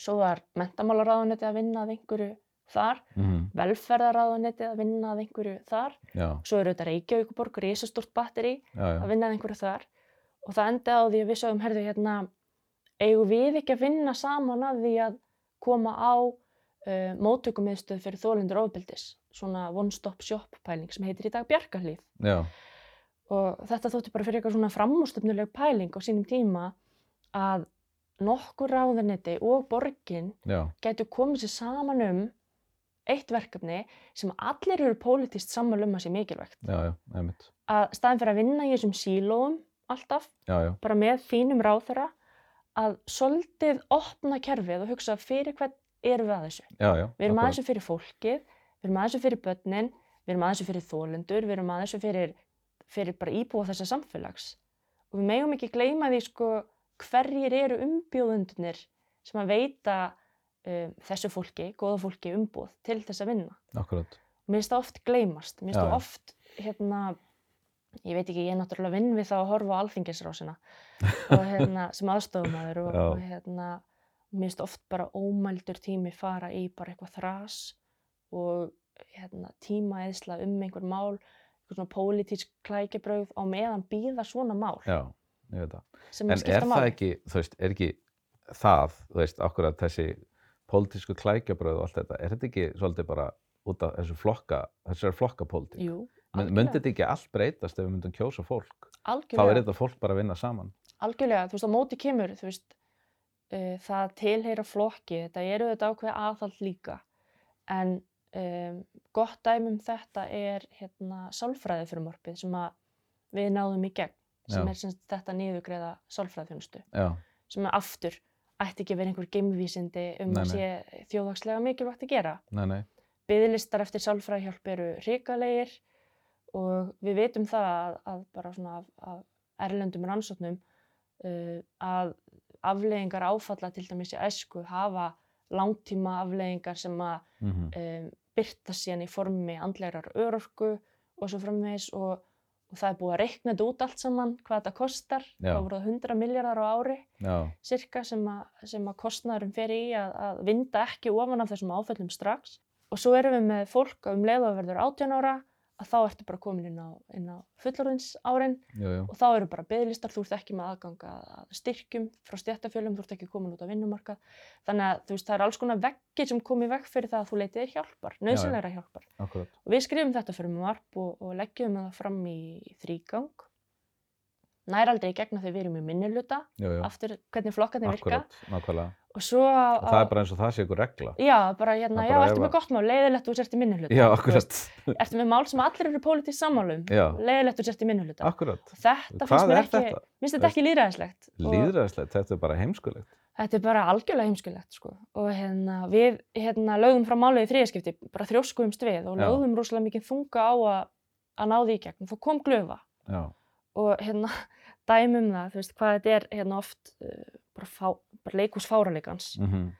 [SPEAKER 2] svo var mentamálaráðuniti að vinna að einhverju þar
[SPEAKER 1] mm
[SPEAKER 2] velferðarraðunetið að vinna að einhverju þar.
[SPEAKER 1] já,
[SPEAKER 2] Svo eru þetta Reykjavíkuborg, risastort batteri
[SPEAKER 1] já, já.
[SPEAKER 2] að vinna að einhverju þar. Og það endaði á því að við sögum, herðu, hérna, eigum við ekki að vinna saman að því að koma á uh, móttökumiðstöð fyrir þólendur ofbildis, svona one-stop shop pæling sem heitir í dag Bjarkarlíf.
[SPEAKER 1] Já,
[SPEAKER 2] Og þetta þótti bara fyrir eitthvað svona framústöfnuleg pæling á sínum tíma að nokkur ráðuneyti og borgin
[SPEAKER 1] já,
[SPEAKER 2] gætu komið sér saman um eitt verkefni sem allir eru pólitist sammála um að sé mikilvægt.
[SPEAKER 1] já, já, einmitt.
[SPEAKER 2] Að staðin fyrir að vinna í þessum sílóum alltaf,
[SPEAKER 1] Já, já,
[SPEAKER 2] bara með þínum ráþara, að svolítið opna kerfið og hugsa fyrir hvern erum við að þessu.
[SPEAKER 1] já, já.
[SPEAKER 2] Við erum að
[SPEAKER 1] akkurat.
[SPEAKER 2] þessu fyrir fólkið, við erum að þessu fyrir börnin, við erum að þessu fyrir þólendur, við erum að þessu fyrir, fyrir bara íbúa þessa samfélags. Og við megum ekki gleyma því sko hverjir eru umbjóðundunir sem að veita um, þessu fólki, góða fólki umbúð til þess að vinna.
[SPEAKER 1] Akkurat.
[SPEAKER 2] Mér finnst það oft gleymast,
[SPEAKER 1] Já,
[SPEAKER 2] mér finnst
[SPEAKER 1] já.
[SPEAKER 2] það oft, hérna, ég veit ekki, ég er náttúrulega vinn við það að horfa á alþingisrásina og hérna, sem aðstofumæður og,
[SPEAKER 1] Já.
[SPEAKER 2] og hérna, Mér finnst oft bara ómældur tími fara í bara eitthvað þras og hérna, tímaeðsla um einhver mál, einhver svona pólitísk klækjabröð á meðan býða svona mál
[SPEAKER 1] já, ég veit það.
[SPEAKER 2] sem
[SPEAKER 1] En er
[SPEAKER 2] er Mm, skipta
[SPEAKER 1] það
[SPEAKER 2] mál.
[SPEAKER 1] ekki, þú veist, er ekki það, þú veist, akkurat þessi pólitísku klækjabröð og allt þetta, er þetta ekki svolítið bara út af þessu flokka, þessar flokkapólitík?
[SPEAKER 2] Jú,
[SPEAKER 1] Mun- Myndi þetta ekki allt breytast ef við myndum kjósa fólk? Þá
[SPEAKER 2] algjörlega,
[SPEAKER 1] er þetta fólk bara að vinna saman.
[SPEAKER 2] algjörlega, þú veist, á móti kemur, þú veist, uh, það tilheyra flokki, þetta eru þetta ákveð aðhald líka, en um, gott dæmi um þetta er hérna sálfræðifrumorpið sem að við náðum í gegn, sem
[SPEAKER 1] Já.
[SPEAKER 2] er sem sagt þetta niðurgreða sálfræðifjónustu.
[SPEAKER 1] Já,
[SPEAKER 2] sem að aftur ætti ekki að vera einhver geimvísindi um
[SPEAKER 1] Nei,
[SPEAKER 2] að sé þjóðhagslega mikilvægt að gera.
[SPEAKER 1] nei, nei,
[SPEAKER 2] Byðlistar eftir sálfræðihjálp eru hrikalegir og við vitum það að, að bara svona af, af erlendum rannsóknum uh, að afleiðingar áfalla til dæmis í æsku hafa langtíma afleiðingar sem að
[SPEAKER 1] mm
[SPEAKER 2] um, byrta síðan í formi andlegar örorku og svo framvegis og, og það er búið að reikna þetta út allt saman hvað þetta kostar,
[SPEAKER 1] Já.
[SPEAKER 2] þá voru það 100 miljardar á ári
[SPEAKER 1] já,
[SPEAKER 2] cirka sem, að, sem að kostnæðurum fer í að, að vinda ekki ofan af þessum áföllum strax og svo erum við með fólk að um leið og það verður 18 ára að þá ertu bara komin inn á, inn á fullorðins
[SPEAKER 1] jú, jú,
[SPEAKER 2] og þá eru bara bygglistar, þú ert ekki með aðgang að að styrkjum frá stjættafjölum, þú ert ekki komin út á vinnumarkað þannig að þú veist það er alls konar veggir sem kom í vegg fyrir það að þú leitið þér hjálpar, nöðsynleira hjálpar
[SPEAKER 1] akkurat.
[SPEAKER 2] og við skrifum þetta fyrir marp og, og leggjum það fram í þrígang nær aldrei í gegna þegar við erum í minniluta
[SPEAKER 1] Jú, jú,
[SPEAKER 2] aftur hvernig flokkarnir virka
[SPEAKER 1] akkurat, nákvæmlega.
[SPEAKER 2] og svo á,
[SPEAKER 1] Og það er bara eins og það sé ykkur regla.
[SPEAKER 2] já, bara hérna,
[SPEAKER 1] Það
[SPEAKER 2] já,
[SPEAKER 1] bara
[SPEAKER 2] ertu
[SPEAKER 1] ef
[SPEAKER 2] með
[SPEAKER 1] að-
[SPEAKER 2] gott mál, leiðilegt þú sért í minnihluta
[SPEAKER 1] Já,
[SPEAKER 2] Þú
[SPEAKER 1] akkurat,
[SPEAKER 2] veist, ertu með mál sem allir eru pólitísk sammálum
[SPEAKER 1] Já.
[SPEAKER 2] leiðilegt um? þú sért í minnihluta
[SPEAKER 1] akkurat.
[SPEAKER 2] þetta
[SPEAKER 1] Hvað
[SPEAKER 2] finnst mér
[SPEAKER 1] er
[SPEAKER 2] ekki,
[SPEAKER 1] þetta?
[SPEAKER 2] finnst þetta ekki líðræðislegt og
[SPEAKER 1] Líðræðislegt, þetta er bara heimskulegt.
[SPEAKER 2] þetta er bara algjörlega heimskulegt sko. og hérna, við hérna, lögðum frá málið í þriðaskipti, bara þrjóskuðumst við og
[SPEAKER 1] Já.
[SPEAKER 2] lögðum rosalega mikið þunga á að, að ná því í gegn, þú kom glöfa
[SPEAKER 1] Já,
[SPEAKER 2] og hérna dæmum það, þú veist, hvað þetta er hérna oft uh, bara, fá, bara leikús fáralegans
[SPEAKER 1] mm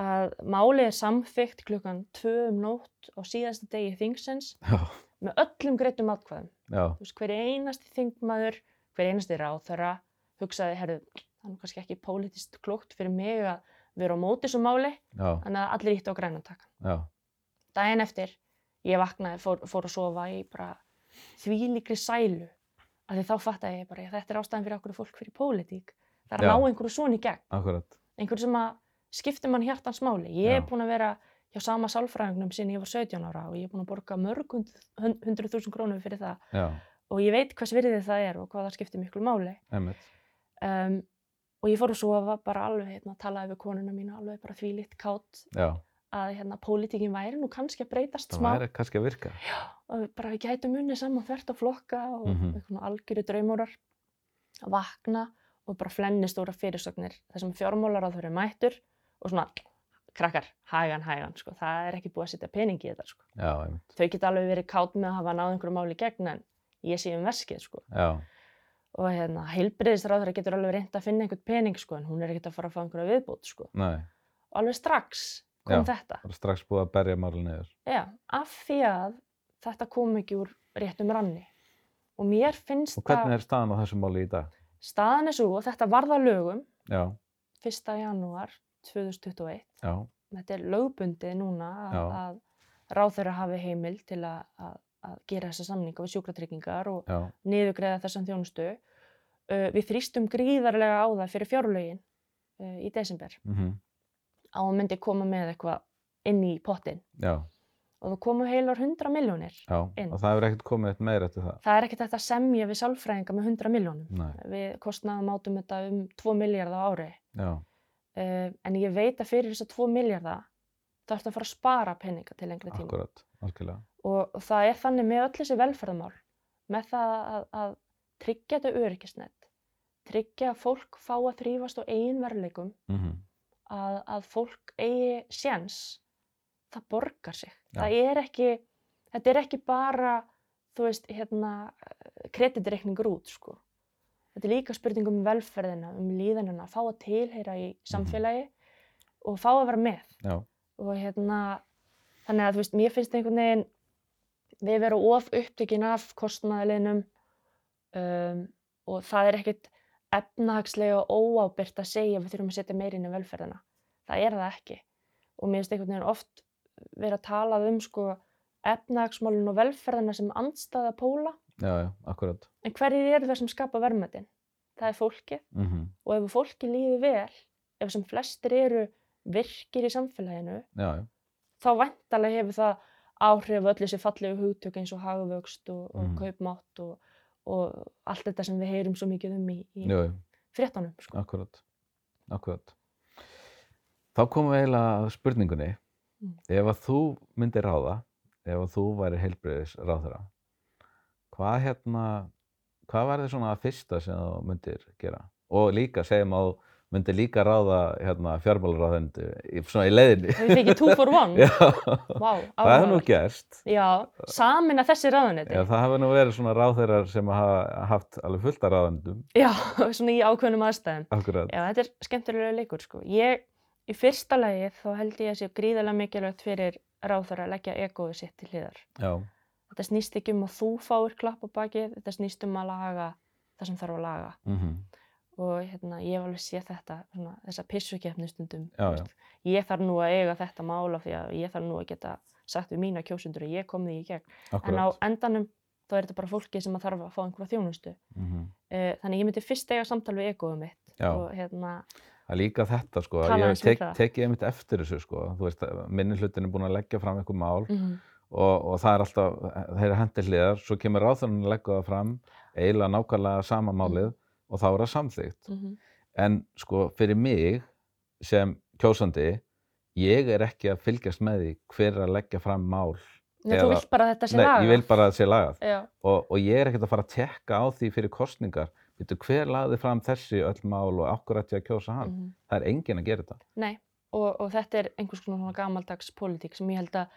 [SPEAKER 2] að málið er samþygt klukkan 2 um nótt á síðasta degi þingsins
[SPEAKER 1] já,
[SPEAKER 2] með öllum greittum atkvæðum.
[SPEAKER 1] já,
[SPEAKER 2] Þú veist, hver einasti þingmaður, hver einasti ráþara hugsaði, herru, það er nú kannski ekki pólitist klókt fyrir mig að vera á móti svo máli,
[SPEAKER 1] já,
[SPEAKER 2] þannig að allir ítti á grænantaka.
[SPEAKER 1] já,
[SPEAKER 2] Daginn eftir, ég vaknaði, fór, fór að sofa í bara þvílíkri sælu, af því þá fattaði ég bara, "Já, þetta er ástæðan fyrir okkur fólk fyrir pólitík. Það er að
[SPEAKER 1] Já.
[SPEAKER 2] ná einhverju svona í gegn
[SPEAKER 1] akkurat.
[SPEAKER 2] einhver sem að skiptir mann hjartans máli. Ég er
[SPEAKER 1] Já.
[SPEAKER 2] búin að vera hjá sama sálfræðingnum sín ég var 17 ára og ég er búin að borga mörg hundruð þúsund krónur fyrir það
[SPEAKER 1] Já,
[SPEAKER 2] og ég veit hvers virðið það er og hvað það skiptir miklu máli.
[SPEAKER 1] einmitt.
[SPEAKER 2] Um, og ég fór að sofa bara alveg hérna, talaði við konuna mína alveg bara þvílitt kátt
[SPEAKER 1] Já,
[SPEAKER 2] að hérna, pólitíkin væri nú kannski að breytast
[SPEAKER 1] það
[SPEAKER 2] smá
[SPEAKER 1] væri kannski að virka.
[SPEAKER 2] og við bara við gætum unni saman þvert á flokka og mm
[SPEAKER 1] Mhm.
[SPEAKER 2] -hmm. einhvern algjöru draumórar að vakna og bara flenni stóra fyrirsögnir þessum fjármólar að þau eru mættur og svona krakkar, hægan, hægan, sko, það er ekki búið að setja pening í þetta, sko.
[SPEAKER 1] Já, einmitt.
[SPEAKER 2] Þau geta alveg verið kátt með að hafa náð einhverju máli gegn en ég sé um veskið, sko.
[SPEAKER 1] Já,
[SPEAKER 2] Og hérna, heilbriðisráður getur alveg reynd að finna einhvern pening, sko, en hún er ekkert að fara að fá einhverja viðbót, sko.
[SPEAKER 1] nei,
[SPEAKER 2] Og alveg strax kom þetta.
[SPEAKER 1] það er strax búið að berja marl niður.
[SPEAKER 2] Já, af því að þetta kom ekki úr réttum ranni. Og mér finnst
[SPEAKER 1] Og hvernig er staðan á þessu máli í dag?
[SPEAKER 2] staðan er svo og þetta varða lögum
[SPEAKER 1] Já,
[SPEAKER 2] 1. janúar 2021.
[SPEAKER 1] já,
[SPEAKER 2] Þetta er lögbundið núna
[SPEAKER 1] Já.
[SPEAKER 2] að, að ráðherra hafi heimil til að, að, að gera þessa samninga við sjúkratryggingar og
[SPEAKER 1] já,
[SPEAKER 2] niðurgreða þessan þjónustu. Uh, við þrýstum gríðarlega á það fyrir fjárlögin uh, í desember
[SPEAKER 1] mhm,
[SPEAKER 2] á að myndi koma með eitthvað inn í pottin
[SPEAKER 1] já,
[SPEAKER 2] og það komu heilar 100 miljónir.
[SPEAKER 1] já.
[SPEAKER 2] Inn.
[SPEAKER 1] Og það hefur ekkert komið eitt meir eftir það.
[SPEAKER 2] Það er ekkert hægt að semja við sálfræðinga með 100 miljónum.
[SPEAKER 1] Nei,
[SPEAKER 2] Við kostnaðum átum þetta um 2 miljardar á ári.
[SPEAKER 1] já,
[SPEAKER 2] Uh, en ég veit að fyrir þess að 2 miljardar þá ertu að fara að spara peninga til lengri tíma.
[SPEAKER 1] akkurat, algjörlega.
[SPEAKER 2] Og það er þannig með öll þessi velferðamál. Með það að, að tryggja þetta öryggisnett. Tryggja að fólk fá að þrýfast á eigin verðleikum.
[SPEAKER 1] Mm
[SPEAKER 2] Að, að fólk eigi séns. Það borgar sig.
[SPEAKER 1] Já.
[SPEAKER 2] Það er ekki, þetta er ekki bara, þú veist, hérna, kreditreikningur út, sko. Þetta er líka spurning um velferðina, um líðanina, fá að tilheyra í samfélagi og fá að vera með.
[SPEAKER 1] Já,
[SPEAKER 2] Og hérna, þannig að þú veist, mér finnst einhvern veginn, við verum of upptökin af kostnaðaliðnum um, og það er ekkit efnahagslega óábyrgt að segja að við þurfum að setja meirinn í velferðina. það er það ekki. Og mér finnst einhvern veginn oft verið að tala um sko efnagsmálun og velferðina sem andstaða póla,
[SPEAKER 1] já, já, akkurat.
[SPEAKER 2] en hverjir eru það sem skapa verðmætin? Það er fólkið
[SPEAKER 1] Mm
[SPEAKER 2] og ef fólki líður vel, ef sem flestir eru virkir í samfélaginu,
[SPEAKER 1] Já, já,
[SPEAKER 2] þá væntalega hefur það áhrif á öll þessi fallegu hugtök eins og hagvöxt og, og
[SPEAKER 1] Mhm.
[SPEAKER 2] kaupmátt og, og allt þetta sem við heyrum svo mikið um í, í
[SPEAKER 1] já, já,
[SPEAKER 2] fréttanum. Sko.
[SPEAKER 1] akkurat. Akkurat. Þá komum við eiginlega að spurningunni.
[SPEAKER 2] Mm.
[SPEAKER 1] Ef að þú myndir ráða, ef að þú væri heilbreyðis ráðherra, hvað hérna, hvað var þið svona að fyrsta sem þú myndir gera? Og líka, segjum að þú myndir líka ráða hérna fjármálaráðendu, svona í leiðinni.
[SPEAKER 2] Við fengið two for one.
[SPEAKER 1] Já,
[SPEAKER 2] Vá,
[SPEAKER 1] það hefur nú
[SPEAKER 2] Mm. áhugavert.
[SPEAKER 1] gerst.
[SPEAKER 2] Já, samin að þessi ráðunetti.
[SPEAKER 1] Já, það hafa nú verið svona ráðherrar sem hafa haft alveg fullt af ráðendum,
[SPEAKER 2] Já, svona í ákveðnum aðstæðum.
[SPEAKER 1] akkurat.
[SPEAKER 2] Já, þetta er skemmtilega leikur sko. Ég, í fyrsta lagi þá held ég að sé gríðarlega mikilvægt fyrir ráðara að leggja egoðu sitt til hliðar.
[SPEAKER 1] Já,
[SPEAKER 2] Þetta snýst ekki um að þú fáir klapp á bakið, þetta snýst um að laga það sem þarf að laga.
[SPEAKER 1] mhm,
[SPEAKER 2] Og hérna, ég hef alveg séð þetta, svona, þessa pissukefni stundum.
[SPEAKER 1] Já,
[SPEAKER 2] þú veist. Ég þarf nú að eiga þetta mála því að ég þarf nú að geta sagt við mína kjósundur að ég kom því í gegn. En á
[SPEAKER 1] akkurat.
[SPEAKER 2] endanum þá er þetta bara fólkið sem að þarf að fá einhverja þjónustu.
[SPEAKER 1] mhm.
[SPEAKER 2] Eh, Þannig ég myndi fyrst eiga samtal við egoðum mitt.
[SPEAKER 1] Já.
[SPEAKER 2] Og hérna,
[SPEAKER 1] Það er líka þetta sko, að
[SPEAKER 2] Tala
[SPEAKER 1] ég hef
[SPEAKER 2] aðeins um
[SPEAKER 1] tek,
[SPEAKER 2] það.
[SPEAKER 1] tekið einmitt eftir þessu sko, þú veist, minni hlutin er búin að leggja fram einhver mál
[SPEAKER 2] mhm.
[SPEAKER 1] og, og það er alltaf, þeir eru hendið hliðar, svo kemur ráðherran að leggja það fram, eiginlega nákvæmlega sama málið
[SPEAKER 2] Mm.
[SPEAKER 1] og þá er það samþygt.
[SPEAKER 2] Mhm.
[SPEAKER 1] En sko, fyrir mig sem kjósandi, ég er ekki að fylgjast með því hver er að leggja fram mál.
[SPEAKER 2] Nei,
[SPEAKER 1] Eða-
[SPEAKER 2] þú vilt bara að þetta sé
[SPEAKER 1] Nei,
[SPEAKER 2] laga.
[SPEAKER 1] ég vil bara að það sé lagað.
[SPEAKER 2] Já,
[SPEAKER 1] og, og ég er ekkert að fara að tekka á því fyrir kostningar Veitu, hver laði fram þessi öll mál og akkur ætti ég að kjósa hann?
[SPEAKER 2] mhm.
[SPEAKER 1] Það er enginn að gera þetta.
[SPEAKER 2] Nei, og, og þetta er einhvers konar svona gamaldags pólitík sem ég held að,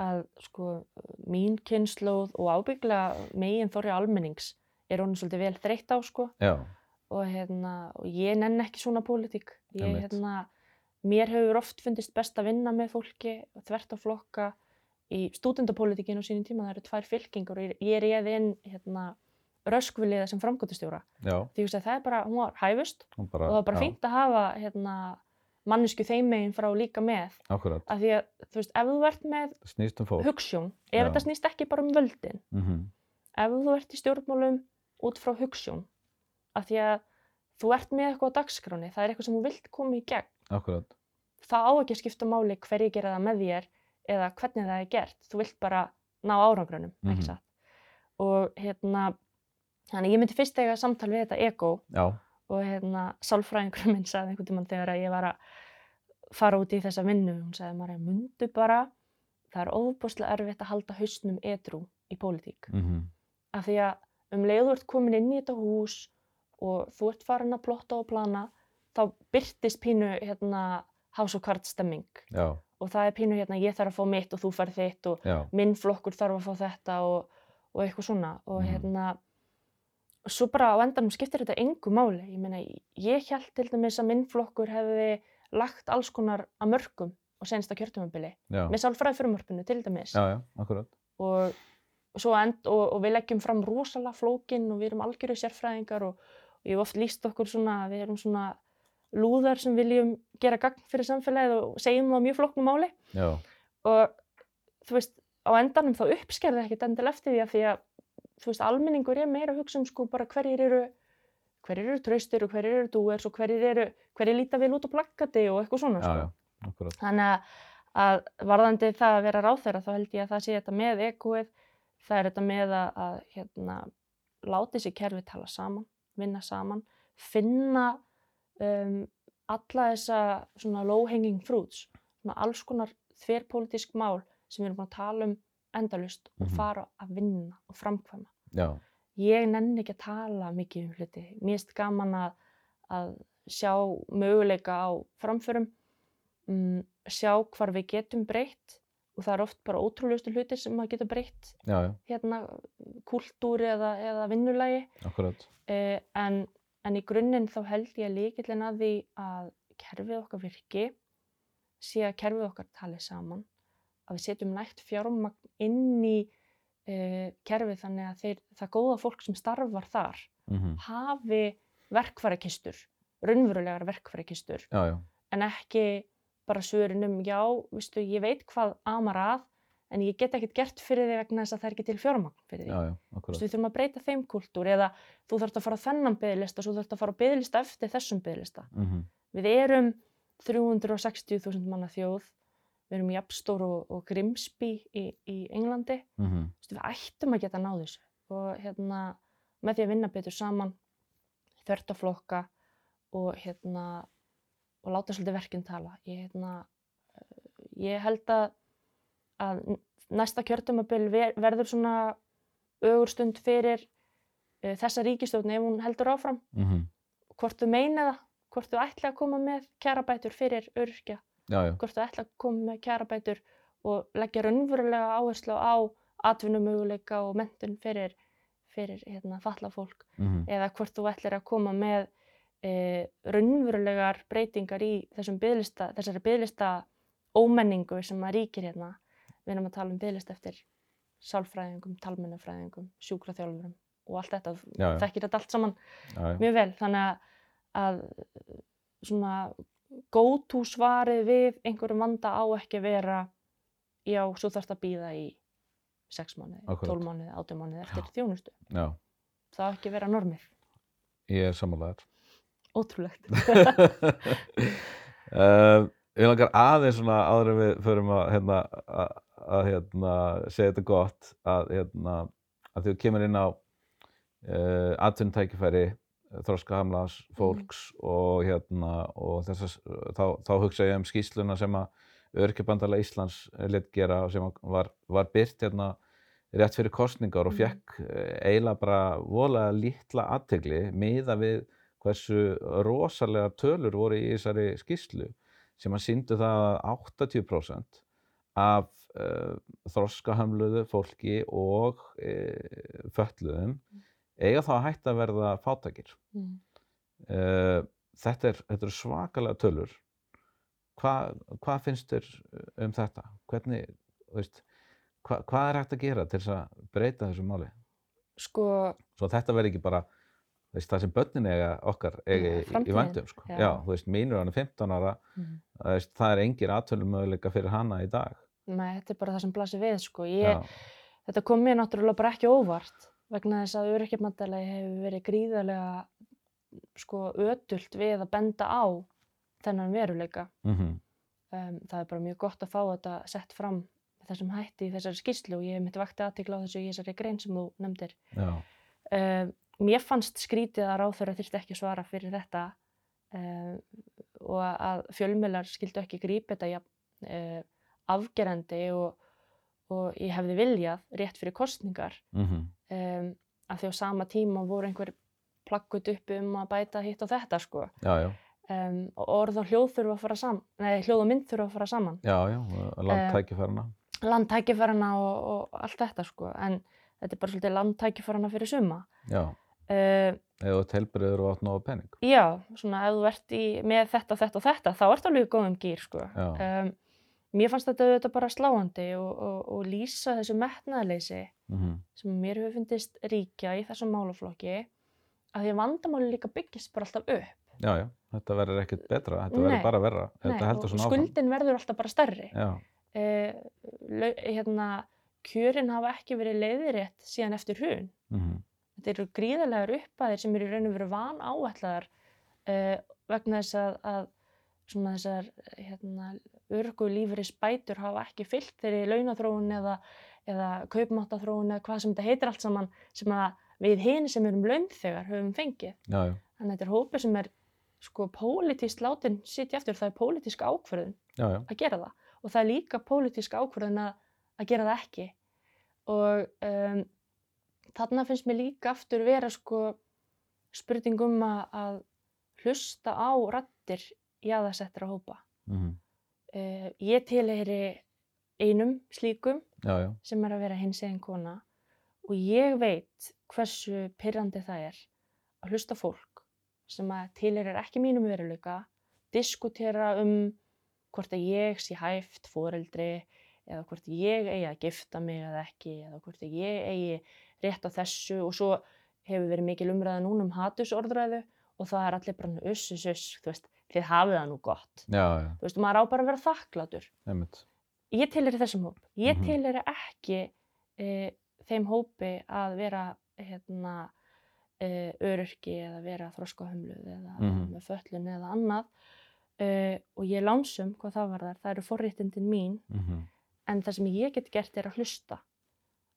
[SPEAKER 2] að sko, mín kynnslóð og ábyggla megin þorri almennings er honum svolítið vel þreytt á sko
[SPEAKER 1] Já,
[SPEAKER 2] og, hérna, og ég nenn ekki svona pólitík. Ég,
[SPEAKER 1] Einmitt.
[SPEAKER 2] hérna, mér hefur oft fundist best að vinna með fólki og þvert á flokka í stúdendapólitíkinu á sínum tíma. Það eru tvær fylkingar og ég- ég réði inn hérna, röskviliða sem framkvæmdastjóra.
[SPEAKER 1] já,
[SPEAKER 2] Því að það er bara, hún var hæfust
[SPEAKER 1] hún bara,
[SPEAKER 2] og það var bara
[SPEAKER 1] já,
[SPEAKER 2] fínt að hafa hérna, mannesku þeim meginn frá líka með
[SPEAKER 1] Akkurat,
[SPEAKER 2] af því að þú veist, ef þú ert með
[SPEAKER 1] snýst um fólk.
[SPEAKER 2] hugsjón, ef
[SPEAKER 1] Já.
[SPEAKER 2] þetta snýst ekki bara um völdin
[SPEAKER 1] Mm
[SPEAKER 2] ef þú ert í stjórnmálum út frá hugsjón af því að þú ert með eitthvað á dagskráni það er eitthvað sem þú vilt koma í gegn
[SPEAKER 1] Akkurat,
[SPEAKER 2] það á ekki að skipta máli hverju gera það með þér eða hvernig það er gert þú vilt bara ná árangrunum
[SPEAKER 1] Mhm.
[SPEAKER 2] ekki satt og hérna þannig ég myndi fyrst eiga samtal við þetta ego
[SPEAKER 1] já,
[SPEAKER 2] og hérna sálfræðingur minn sagði einhvern tímann þegar að ég var að fara út í þessa vinnu, hún sagði Marja, mundu bara, það er óbúslega erfitt að halda hausnum edru í pólitík.
[SPEAKER 1] mm
[SPEAKER 2] Af því að um leið þú ert komin inn í þetta hús og þú ert farin að plotta og plana, þá byrtist pínu hérna hás og kvart stemming
[SPEAKER 1] já,
[SPEAKER 2] og það er pínu hérna ég þarf að fá mitt og þú fær þitt og
[SPEAKER 1] já,
[SPEAKER 2] minn flokkur þarf að fá þetta og, og eitthvað svona og
[SPEAKER 1] Mhm.
[SPEAKER 2] hérna og svo bara á endanum skiptir þetta engu máli ég meina, ég held til dæmis að minn flokkur hefði lagt alls konar að mörgum og senst á kjörtumabili
[SPEAKER 1] já,
[SPEAKER 2] með sálfræði frumvarpinu til dæmis
[SPEAKER 1] já, já, akkurat,
[SPEAKER 2] og, og, svo end, og, og við leggjum fram rosalega flókin og við erum algjöru sérfræðingar og, og ég hef oft líst okkur svona að við erum svona lúðar sem viljum gera gagn fyrir samfélagið og segjum það á mjög flóknu máli
[SPEAKER 1] já,
[SPEAKER 2] og þú veist, á endanum þá uppskerði ekkert endil eftir því að því að þú veist, almenningur er meira að hugsa um sko bara hverjir eru hverjir eru traustir og hverjir eru dúers og hverjir eru, hverjir líta vel út á plakkati og eitthvað svona
[SPEAKER 1] já,
[SPEAKER 2] sko.
[SPEAKER 1] já, akkurat,
[SPEAKER 2] þannig að, að varðandi það að vera ráþeira þá held ég að það sé þetta með ekoið, það er þetta með að, að hérna, láti sér kerfi tala saman, vinna saman finna um, alla þessa svona low hanging fruits, svona alls konar þverpólitísk mál sem við erum búin að tala um endalust og
[SPEAKER 1] Mhm.
[SPEAKER 2] fara að vinna og framkvæma
[SPEAKER 1] já,
[SPEAKER 2] ég nenni ekki að tala mikið um hluti. Mér finnst gaman að, að sjá möguleika á framförum, um, sjá hvar við getum breytt og það er oft bara ótrúlegustu hlutir sem maður getur breytt,
[SPEAKER 1] já, já,
[SPEAKER 2] hérna kultúr eða, eða vinnulagi.
[SPEAKER 1] akkurat,
[SPEAKER 2] Eh, en, en í grunninn þá held ég að líkillin að því að kerfið okkar virki sé að kerfið okkar tali saman að við setjum nægt fjármagn inn í eh, kerfið þannig að þeir, það góða fólk sem starfar þar
[SPEAKER 1] mm
[SPEAKER 2] hafi verkfærakistur, raunverulegar verkfærakistur
[SPEAKER 1] já, já,
[SPEAKER 2] en ekki bara svörunum, já, vistu, ég veit hvað amar að, en ég get ekkert gert fyrir því vegna þess að það er ekki til fjármagn fyrir því.
[SPEAKER 1] já, já, akkurat.
[SPEAKER 2] Vistu, við þurfum að breyta þeim kultúr eða þú þarfst að fara á þennan byggðlista, svo þarfst að fara á byggðlista eftir þessum byggðlista.
[SPEAKER 1] Mm
[SPEAKER 2] Við erum 360.000 manna þjóð, við erum jafnstór og, og Grimsby í, í Englandi.
[SPEAKER 1] -hmm.
[SPEAKER 2] Vistu, við ættum að geta náð þessu og hérna, með því að vinna betur saman, þvert að flokka og, hérna, og láta svolítið verkinn tala. Ég, hérna, eh, ég held að, að n- næsta kjörtumabil verður svona ögurstund fyrir uh, þessa ríkistjórn ef hún heldur áfram,
[SPEAKER 1] Mm -hmm.
[SPEAKER 2] hvort þú meina það, hvort þú ætla að koma með kjærabætur fyrir örkja
[SPEAKER 1] Já, já,
[SPEAKER 2] hvort þú ætla að koma með kjarabætur og leggja raunverulega áherslu á atvinnumöguleika og mentun fyrir, fyrir hérna, falla fólk
[SPEAKER 1] mm
[SPEAKER 2] eða hvort þú ætlar að koma með e, raunverulegar breytingar í þessum bygglista, þessari bygglista ómenningu sem að ríkir hérna. Við erum að tala um bygglist eftir sálfræðingum, talmennafræðingum, sjúkraþjálfurum og allt þetta,
[SPEAKER 1] Já, já.
[SPEAKER 2] þekkir þetta allt saman
[SPEAKER 1] já, já.
[SPEAKER 2] mjög vel þannig að, að svona gótu svarið við einhverjum vanda á ekki að vera já, svo þarfst að býða í 6 mánuði,
[SPEAKER 1] Akkúrat.
[SPEAKER 2] 12 mánuði, 18 mánuði eftir þjónustu.
[SPEAKER 1] já.
[SPEAKER 2] Það á ekki að vera normið.
[SPEAKER 1] Ég er sammálaðar.
[SPEAKER 2] Ótrúlegt.
[SPEAKER 1] uh, ég langar aðeins svona áður en við förum að, hérna, að, að hérna, segja þetta gott að, hérna, að þú kemur inn á uh, atvinnutækifæri þroska hamlaðs fólks og, hérna, og þessa, þá, þá hugsa ég um skýsluna sem að Örkjabandala Íslands lit gera og sem að var, var byrt hérna rétt fyrir kostningar og
[SPEAKER 2] Mhm.
[SPEAKER 1] fekk eh, eiginlega bara voðalega lítla aðtegli miða við hversu rosalega tölur voru í þessari skýslu sem að síndu það að 80% af uh, þroskahamluðu fólki og uh, fötluðum eiga þá að hætta að verða fátakir.
[SPEAKER 2] Mm.
[SPEAKER 1] Uh, þetta, er, þetta er svakalega tölur. Hva, hvað finnst þér um þetta? Hvernig, þú veist, hva, hvað er hægt að gera til þess að breyta þessu máli?
[SPEAKER 2] Sko,
[SPEAKER 1] svo þetta verði ekki bara þú veist, það sem börnin eiga okkar eiga
[SPEAKER 2] Já,
[SPEAKER 1] í, í
[SPEAKER 2] framtíðin,
[SPEAKER 1] vandum sko.
[SPEAKER 2] já.
[SPEAKER 1] já, þú veist, mínur hann er 15 ára
[SPEAKER 2] mm.
[SPEAKER 1] þú veist, það er engir aðtölumöðuleika fyrir hana í dag
[SPEAKER 2] Nei, þetta er bara það sem blasir við, sko. Ég,
[SPEAKER 1] já,
[SPEAKER 2] Þetta kom mér náttúrulega bara ekki á óvart vegna þess að öryrkjamandalagi hefur verið gríðarlega sko ödult við að benda á þennan veruleika.
[SPEAKER 1] mhm,
[SPEAKER 2] um, það er bara mjög gott að fá þetta sett fram með þessum hætti í þessari skýrslu og ég hef mitt vakti aðtikla á þessu í þessari grein sem þú nefndir.
[SPEAKER 1] já,
[SPEAKER 2] Um, mér fannst skrítið að ráþurra þyrfti ekki að svara fyrir þetta um, og að fjölmjölar skildu ekki grípa þetta ja, uh, afgerandi og, og ég hefði viljað rétt fyrir kostningar
[SPEAKER 1] mhm,
[SPEAKER 2] um, að því á sama tíma voru einhver plakkuð upp um að bæta hitt og þetta sko
[SPEAKER 1] já, já,
[SPEAKER 2] um, og orð og hljóð þurfa að fara saman, nei hljóð og mynd þurfa að fara saman
[SPEAKER 1] já, já
[SPEAKER 2] Eh,
[SPEAKER 1] landtækifærna
[SPEAKER 2] landtækifærana og, og allt þetta sko en þetta er bara svolítið landtækifærana fyrir suma
[SPEAKER 1] já,
[SPEAKER 2] uh,
[SPEAKER 1] eða telbriður og átt nógu pening
[SPEAKER 2] já, svona ef þú ert í, með þetta, þetta og þetta þá ertu alveg í góðum gýr sko
[SPEAKER 1] Já.
[SPEAKER 2] um, mér fannst þetta auðvitað bara sláandi og, og, og lýsa þessu metnaðleysi
[SPEAKER 1] mhm,
[SPEAKER 2] sem mér hefur fundist ríkja í þessum málaflokki að því að vandamáli líka byggist bara alltaf upp
[SPEAKER 1] já, já, þetta verður ekkert betra þetta
[SPEAKER 2] Nei.
[SPEAKER 1] verður bara verra,
[SPEAKER 2] Nei,
[SPEAKER 1] þetta
[SPEAKER 2] og
[SPEAKER 1] heldur svona
[SPEAKER 2] skuldin verður alltaf bara stærri
[SPEAKER 1] áfram já,
[SPEAKER 2] uh, hérna, kjörin hafa ekki verið leiðirétt síðan eftir hrun
[SPEAKER 1] mhm,
[SPEAKER 2] þetta eru gríðarlegar uppæðir sem eru í raun og veru van áætlaðar uh, vegna þess að, að svona þessar hérna, örgu lífris bætur hafa ekki fyllt þeirri launathróun eða, eða kaupmáttathróun eða hvað sem þetta heitir allt saman sem að við hinn sem erum launþegar höfum fengið.
[SPEAKER 1] já, já,
[SPEAKER 2] Þannig að þetta er hópur sem er sko pólitískt látin sitja eftir það er pólitísk ákvörðun
[SPEAKER 1] já, já,
[SPEAKER 2] að gera það og það er líka pólitísk ákvörðun að, að gera það ekki og um, þarna finnst mér líka aftur vera sko spurning um að, að hlusta á rattir jaðarsettra hópa.
[SPEAKER 1] mhm,
[SPEAKER 2] Uh, ég tilheyri einum slíkum
[SPEAKER 1] já, já,
[SPEAKER 2] sem er að vera hins einn kona og ég veit hversu pyrrandi það er að hlusta á fólk sem að tilherir ekki mínum veruleika diskutera um hvort að ég sé hæft foreldri eða hvort ég eigi að gifta mig eða ekki eða hvort að ég eigi rétt á þessu og svo hefur verið mikil umræða núna um hatusorðræðu og það er allir bara uss, uss, uss, þú veist, þið hafið það nú gott.
[SPEAKER 1] já, já,
[SPEAKER 2] Þú veist, maður á bara að vera þakkláttur.
[SPEAKER 1] einmitt.
[SPEAKER 2] Ég tilheri þessum hóp. Ég mm
[SPEAKER 1] Mhm.
[SPEAKER 2] ekki e, þeim hópi að vera hérna, e, öryrki eða vera þroskahömluð eða
[SPEAKER 1] Mhm.
[SPEAKER 2] með föllun eða annað. E, og ég er lánsum hvað það var þar. Það eru forréttindin mín
[SPEAKER 1] Mm
[SPEAKER 2] en það sem ég get gert er að hlusta.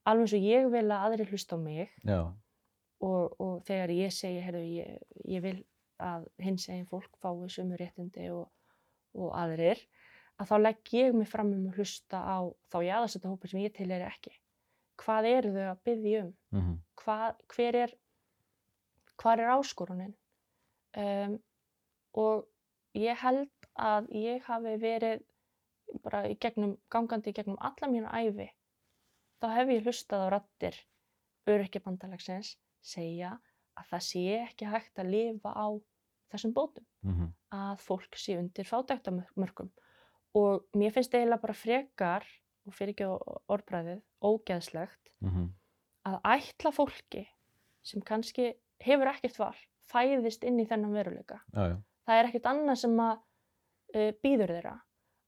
[SPEAKER 2] Alveg eins og ég vil að aðrir hlusta á mig
[SPEAKER 1] Já,
[SPEAKER 2] og, og þegar ég segi, heyrðu, ég, ég vil að hins eginn fólk fái sömu réttindi og, og aðrir, að þá legg ég mig fram um að hlusta á þá jáðarsetta hópa sem ég til er ekki. Hvað eru þau að byggja um?
[SPEAKER 1] mm
[SPEAKER 2] Hvað, hver er, hvar er áskorunin? Um, og ég held að ég hafi verið bara í gegnum, gangandi í gegnum alla mína æfi, þá hef ég hlustað á rattir öryrkjabandalagsins segja að það sé ekki hægt að lifa á þessum bótum,
[SPEAKER 1] mhm,
[SPEAKER 2] að fólk sé undir fátæktamörkum. Og mér finnst eiginlega bara frekar, og fyrir ekki orðbræðið, ógeðslegt,
[SPEAKER 1] mhm,
[SPEAKER 2] að ætla fólki sem kannski hefur ekkert val, fæðist inn í þennan veruleika
[SPEAKER 1] já, já,
[SPEAKER 2] það er ekkert annað sem að uh, býður þeirra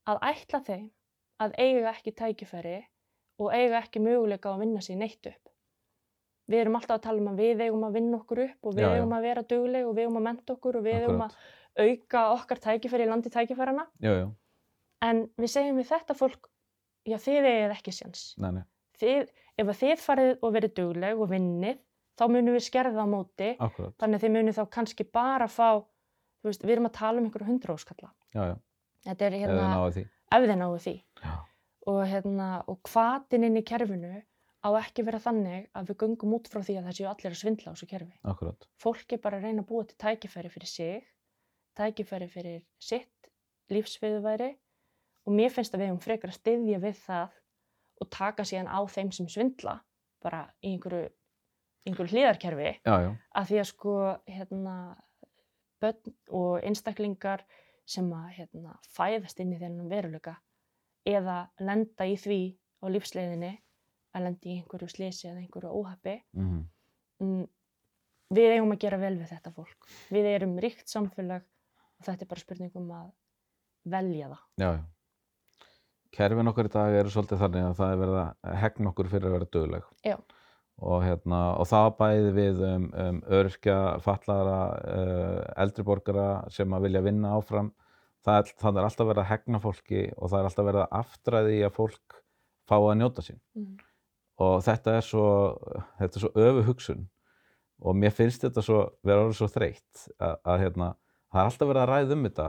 [SPEAKER 2] að ætla þeim að eiga ekki tækifæri og eiga ekki möguleika á að vinna sér neitt upp. Við erum alltaf að tala um að við eigum að vinna okkur upp og við
[SPEAKER 1] Já, já.
[SPEAKER 2] eigum að vera dugleg og við eigum að menta okkur og við eigum
[SPEAKER 1] akkurat.
[SPEAKER 2] að auka okkar tækifæri í landi tækifærana.
[SPEAKER 1] Já, já,
[SPEAKER 2] En við segjum við þetta fólk, já þið eigið ekki séns.
[SPEAKER 1] nei, nei,
[SPEAKER 2] Þið, ef að þið farið og verið dugleg og vinnið, þá munum við skerða á móti.
[SPEAKER 1] akkurat,
[SPEAKER 2] Þannig að þið munið þá kannski bara fá, þú veist, við erum að tala um einhverju hundra áskalla.
[SPEAKER 1] já, já,
[SPEAKER 2] Þetta er
[SPEAKER 1] eða
[SPEAKER 2] hérna,
[SPEAKER 1] þið náðu því.
[SPEAKER 2] ef þeir náu því.
[SPEAKER 1] Já,
[SPEAKER 2] Og, hérna, og hvatin inn í kerfinu á ekki vera þannig að við göngum út frá því að það séu allir að svindla á þessu kerfi.
[SPEAKER 1] akkurat,
[SPEAKER 2] Fólk er bara að reyna að búa til tækifæri fyrir sig, tækifæri fyrir sitt lífsviðuværi og mér finnst að við hefum frekar að styðja við það og taka síðan á þeim sem svindla bara í einhverju, einhverju hliðarkerfi
[SPEAKER 1] já, já,
[SPEAKER 2] að því að sko hérna börn og einstaklingar sem að hérna fæðast inn í þennan veruleika eða lenda í því á lífsleiðinni að lenda í einhverju slisi eða einhverju óhappi
[SPEAKER 1] mhm,
[SPEAKER 2] mm, við eigum að gera vel við þetta fólk við erum ríkt samfélag og þetta er bara spurning um að velja það
[SPEAKER 1] já, já. Kerfin okkar í dag eru svolítið þannig að það er verið að hegna okkur fyrir að vera dugleg.
[SPEAKER 2] Já.
[SPEAKER 1] Og hérna, og það á bæði við um, um örkja, fallara, uh, eldri borgara sem að vilja vinna áfram. Það er, það er alltaf verið að hegna fólki og það er alltaf verið að aftræði að fólk fá að njóta sín.
[SPEAKER 2] mm.
[SPEAKER 1] og þetta er svo, þetta er svo öfu hugsun og mér finnst þetta svo, vera orðið svo þreytt að, að hérna, það er alltaf verið að ræða um þetta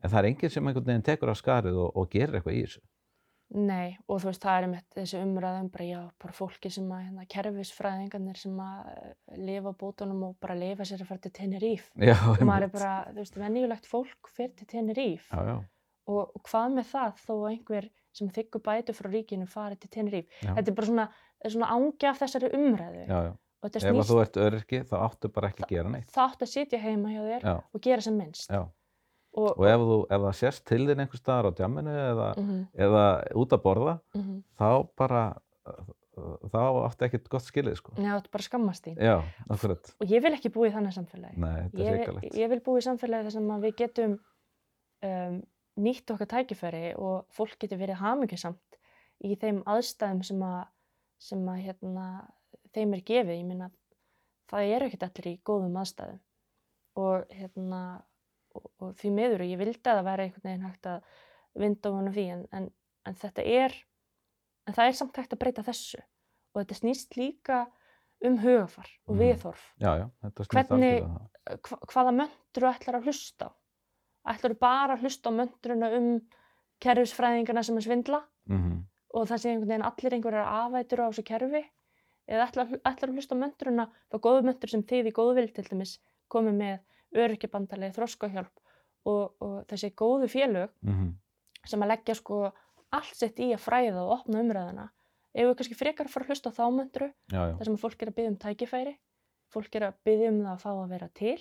[SPEAKER 1] en það er enginn sem einhvern veginn tekur af skarið og, og gerir eitthvað í þessu.
[SPEAKER 2] Nei, og þú veist, það er einmitt þessi umræðum bara, já, bara fólki sem að, hérna, kerfisfræðingarnir sem að eh, lifa á bótunum og bara lifa sér að fara til Teneríf.
[SPEAKER 1] Já,
[SPEAKER 2] og maður er
[SPEAKER 1] einmitt.
[SPEAKER 2] bara, þú veist, venjulegt fólk fyrir til Teneríf
[SPEAKER 1] Já, já,
[SPEAKER 2] og, og hvað með það þó að einhver sem þykku bætu frá ríkinu fari til Teneríf
[SPEAKER 1] Já.
[SPEAKER 2] þetta er bara svona, þetta er svona ángi af þessari umræðu
[SPEAKER 1] já, já.
[SPEAKER 2] og þetta
[SPEAKER 1] Ef að þú
[SPEAKER 2] snýst
[SPEAKER 1] ert öryrki þá áttu bara ekki að gera neitt.
[SPEAKER 2] það átt að sitja heima hjá þér
[SPEAKER 1] Já,
[SPEAKER 2] og gera sem minnst
[SPEAKER 1] já.
[SPEAKER 2] og,
[SPEAKER 1] Og ef, þú, ef það sérst til þinn einhver staðar á djamminu eða,
[SPEAKER 2] mm -hmm,
[SPEAKER 1] eða út að borða,
[SPEAKER 2] mhm.
[SPEAKER 1] þá bara, þá áttu ekkert gott skilið, sko.
[SPEAKER 2] neða þetta bara að skammast þín
[SPEAKER 1] Já, akkurat.
[SPEAKER 2] og ég vil ekki búa í þannig samfélagi
[SPEAKER 1] Nei, þetta er
[SPEAKER 2] ég,
[SPEAKER 1] reykalegt.
[SPEAKER 2] ég vil búa í samfélagi þar sem að við getum um, nýtt okkar tækifæri og fólk getur verið hamingjusamt í þeim aðstæðum sem að, sem að hérna, þeim er gefið. Ég minna, það eru ekkert allir í góðum aðstæðum og, hérna, og, og því miður og ég vildi að það væri einhvern veginn hægt að vinda ofan af því en, en, en þetta er, en það er samt hægt að breyta þessu og þetta snýst líka um hugafar og
[SPEAKER 1] Mhm.
[SPEAKER 2] viðhorf
[SPEAKER 1] Já, já, þetta snýst
[SPEAKER 2] Hvernig-
[SPEAKER 1] algjörlega um það.
[SPEAKER 2] hva, hvaða möndru ætlar að hlusta á? Ætlar bara að hlusta á möndruna um kerfisfræðingarna sem er svindla
[SPEAKER 1] Mm
[SPEAKER 2] og það sé einhvern veginn allir einhverjar afætur á þessu kerfi eða ætlar, ætlar að hlusta á möndruna þá góðu möndur sem þið í góðvill til dæmis komið með öryrkjabandalegi þroskahjálp og, og þessi góðu félög
[SPEAKER 1] -hmm.
[SPEAKER 2] sem að leggja sko allt sitt í að fræða og opna umræðuna ef við kannski frekar að fara að hlusta á þá möndru
[SPEAKER 1] Já, já,
[SPEAKER 2] þar sem að fólk er að byggja um tækifæri, fólk er að byggja um það að fá að vera til,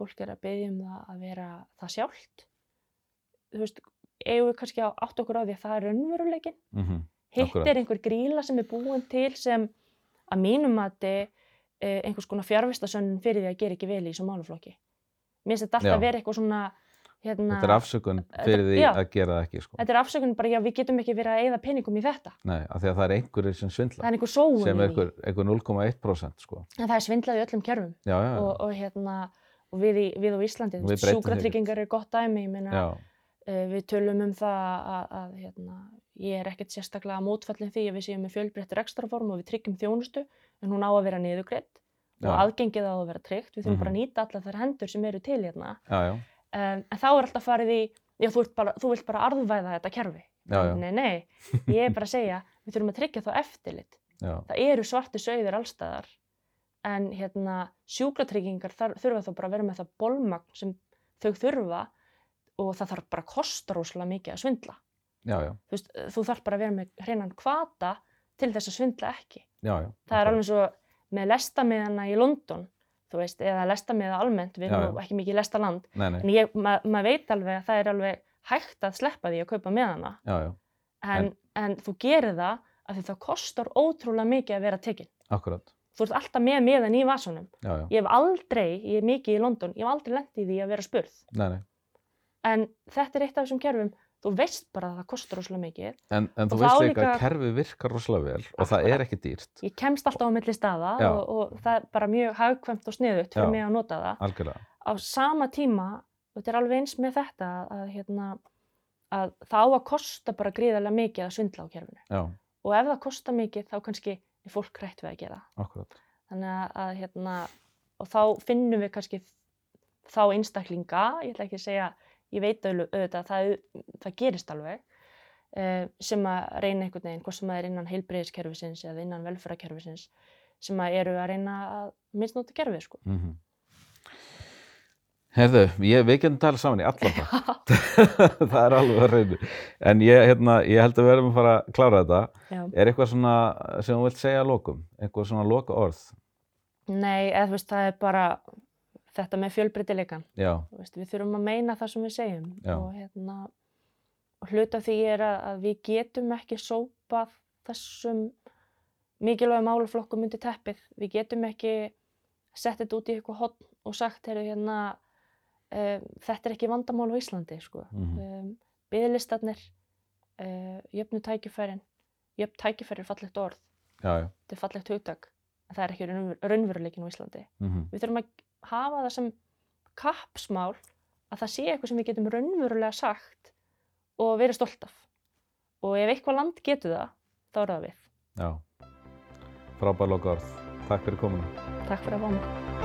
[SPEAKER 2] fólk er að byggja um það að vera það sjálft. Þú veist, eigum við kannski að átta okkur á því að það er raunveruleikin.
[SPEAKER 1] mm
[SPEAKER 2] Hitt
[SPEAKER 1] Akkúrat.
[SPEAKER 2] er einhver gríla sem er búin til sem að e, mínum að þetta einhvers konar fjárvistasönnun fyrir því að gera ekki vel í þessum málaflokki. Mér finnst þetta alltaf
[SPEAKER 1] Já.
[SPEAKER 2] vera eitthvað svona Hérna,
[SPEAKER 1] Þetta er afsökun fyrir
[SPEAKER 2] Þetta-
[SPEAKER 1] því
[SPEAKER 2] já.
[SPEAKER 1] að gera það ekki, sko.
[SPEAKER 2] þetta er afsökun bara, já, við getum ekki verið að eigða peningum í þetta.
[SPEAKER 1] Nei, af því að það er einhverjir sem
[SPEAKER 2] Það
[SPEAKER 1] svindla,
[SPEAKER 2] er einhver sóun
[SPEAKER 1] sem
[SPEAKER 2] í
[SPEAKER 1] er
[SPEAKER 2] því.
[SPEAKER 1] einhver, einhver 0,1% sko.
[SPEAKER 2] En það er svindlað í öllum kerfum.
[SPEAKER 1] Já, já, já.
[SPEAKER 2] Og, og hérna, og við, í, við á Íslandi,
[SPEAKER 1] Við breytum
[SPEAKER 2] sjúkratryggingar eru gott dæmi, ég meina,
[SPEAKER 1] já.
[SPEAKER 2] uh, við tölum um það að, að hérna, ég er ekkert sérstaklega mótfallin því að við séum með fjölbreytt rekstraform og við tryggjum þjónustu, en hún á að vera niðurgreitt
[SPEAKER 1] Já.
[SPEAKER 2] og
[SPEAKER 1] Mhm.
[SPEAKER 2] aðgengið á að vera tryggt. Við þurfum bara að nýta allar þær hendur sem eru til hérna.
[SPEAKER 1] já, já,
[SPEAKER 2] Um, en þá er alltaf farið í, já, þú, ert bara, þú vilt bara arðvæða þetta kerfi.
[SPEAKER 1] Já, já.
[SPEAKER 2] Nei, nei, ég er bara að segja, við þurfum að tryggja þá eftirlit.
[SPEAKER 1] já,
[SPEAKER 2] Það eru svartu sögðir allstæðar, en hérna, sjúkratryggingar þar, þurfa þá bara að vera með það bólmagn sem þau þurfa og það þarf bara að kosta rosalega mikið að svindla.
[SPEAKER 1] já, já,
[SPEAKER 2] Þú, veist, eh, þú þarf bara að vera með hreinan kvata til þess að svindla ekki.
[SPEAKER 1] já, já.
[SPEAKER 2] Það er alveg svo með lestamiðana í London, þú veist, eða lestamiða almennt, við
[SPEAKER 1] Já,
[SPEAKER 2] erum nú ekki mikið lestaland,
[SPEAKER 1] Nei, nei,
[SPEAKER 2] en ég- ma- maður veit alveg að það er alveg hægt að sleppa því að kaupa miðana,
[SPEAKER 1] já, já,
[SPEAKER 2] en, en þú gerir það af því það kostar ótrúlega mikið að vera tekinn.
[SPEAKER 1] akkurat,
[SPEAKER 2] Þú ert alltaf með miðan í vasunum.
[SPEAKER 1] já, já,
[SPEAKER 2] Ég hef aldrei, ég er mikið í London, ég hef aldrei lendið í því að vera spurð.
[SPEAKER 1] nei, nei.
[SPEAKER 2] En þetta er eitt af þessum kerfum, þú veist bara að það kostar ótrúlega mikið.
[SPEAKER 1] En, en þú
[SPEAKER 2] Og
[SPEAKER 1] veist
[SPEAKER 2] þá
[SPEAKER 1] líka að
[SPEAKER 2] líka-
[SPEAKER 1] kerfi virkar rosalega vel og það er ekki dýrt,
[SPEAKER 2] Ég kemst alltaf á milli staða
[SPEAKER 1] Já.
[SPEAKER 2] og, og það er bara mjög hagkvæmt og sniðut fyrir
[SPEAKER 1] Já.
[SPEAKER 2] mig að nota það.
[SPEAKER 1] algjörlega.
[SPEAKER 2] Á sama tíma, og þetta er alveg eins með þetta, að, hérna, að það á að kosta bara gríðarlega mikið að svindla á kerfinu.
[SPEAKER 1] Já,
[SPEAKER 2] og ef það kostar mikið þá kannski er fólk hrætt við að gera það.
[SPEAKER 1] akkurat,
[SPEAKER 2] þannig að, að hérna og þá finnum við kannski þá einstaklinga, ég ætla ekki að segja ég veit auðlu- auðvitað að það, það gerist alveg eh, sem að reyna einhvern veginn, hvort sem það er innan heilbreyðiskerfisins eða innan velferðarkerfisins sem að eru að reyna að misnóta kerfið sko.
[SPEAKER 1] mhm. Herðu, ég, við getum talað saman í allan dag. það er alveg að reynu. En ég, hérna, ég held að við verðum að fara að klára þetta.
[SPEAKER 2] Já.
[SPEAKER 1] Er eitthvað svona sem þú vilt segja að lokum? Eitthvað svona loka orð?
[SPEAKER 2] Nei, eða þú veist það er bara þetta með fjölbreytileikan
[SPEAKER 1] Já,
[SPEAKER 2] Þú veist, við þurfum að meina það sem við segjum
[SPEAKER 1] Já.
[SPEAKER 2] og, hérna, og hluta því er að, að við getum ekki sópað þessum mikilvægum málaflokkum undir teppið. Við getum ekki sett þetta út í eitthvað hotn og sagt heyrðu, hérna, um, þetta er ekki vandamál á Íslandi. Sko.
[SPEAKER 1] mhm,
[SPEAKER 2] Um, Byðlistarnir, uh, jöfnu tækifærin, jöfn tækifæri er fallegt orð,
[SPEAKER 1] já, já,
[SPEAKER 2] þetta er fallegt hugtak, en það er ekki raunver, raunveruleikin á Íslandi
[SPEAKER 1] mhm,
[SPEAKER 2] við þurfum að hafa það sem kappsmál að það sé eitthvað sem við getum raunverulega sagt og verið stolt af. Og ef eitthvað land getur það, þá er það við.
[SPEAKER 1] já. Frábær loka orð. Takk fyrir komuna.
[SPEAKER 2] Takk fyrir að fá mig.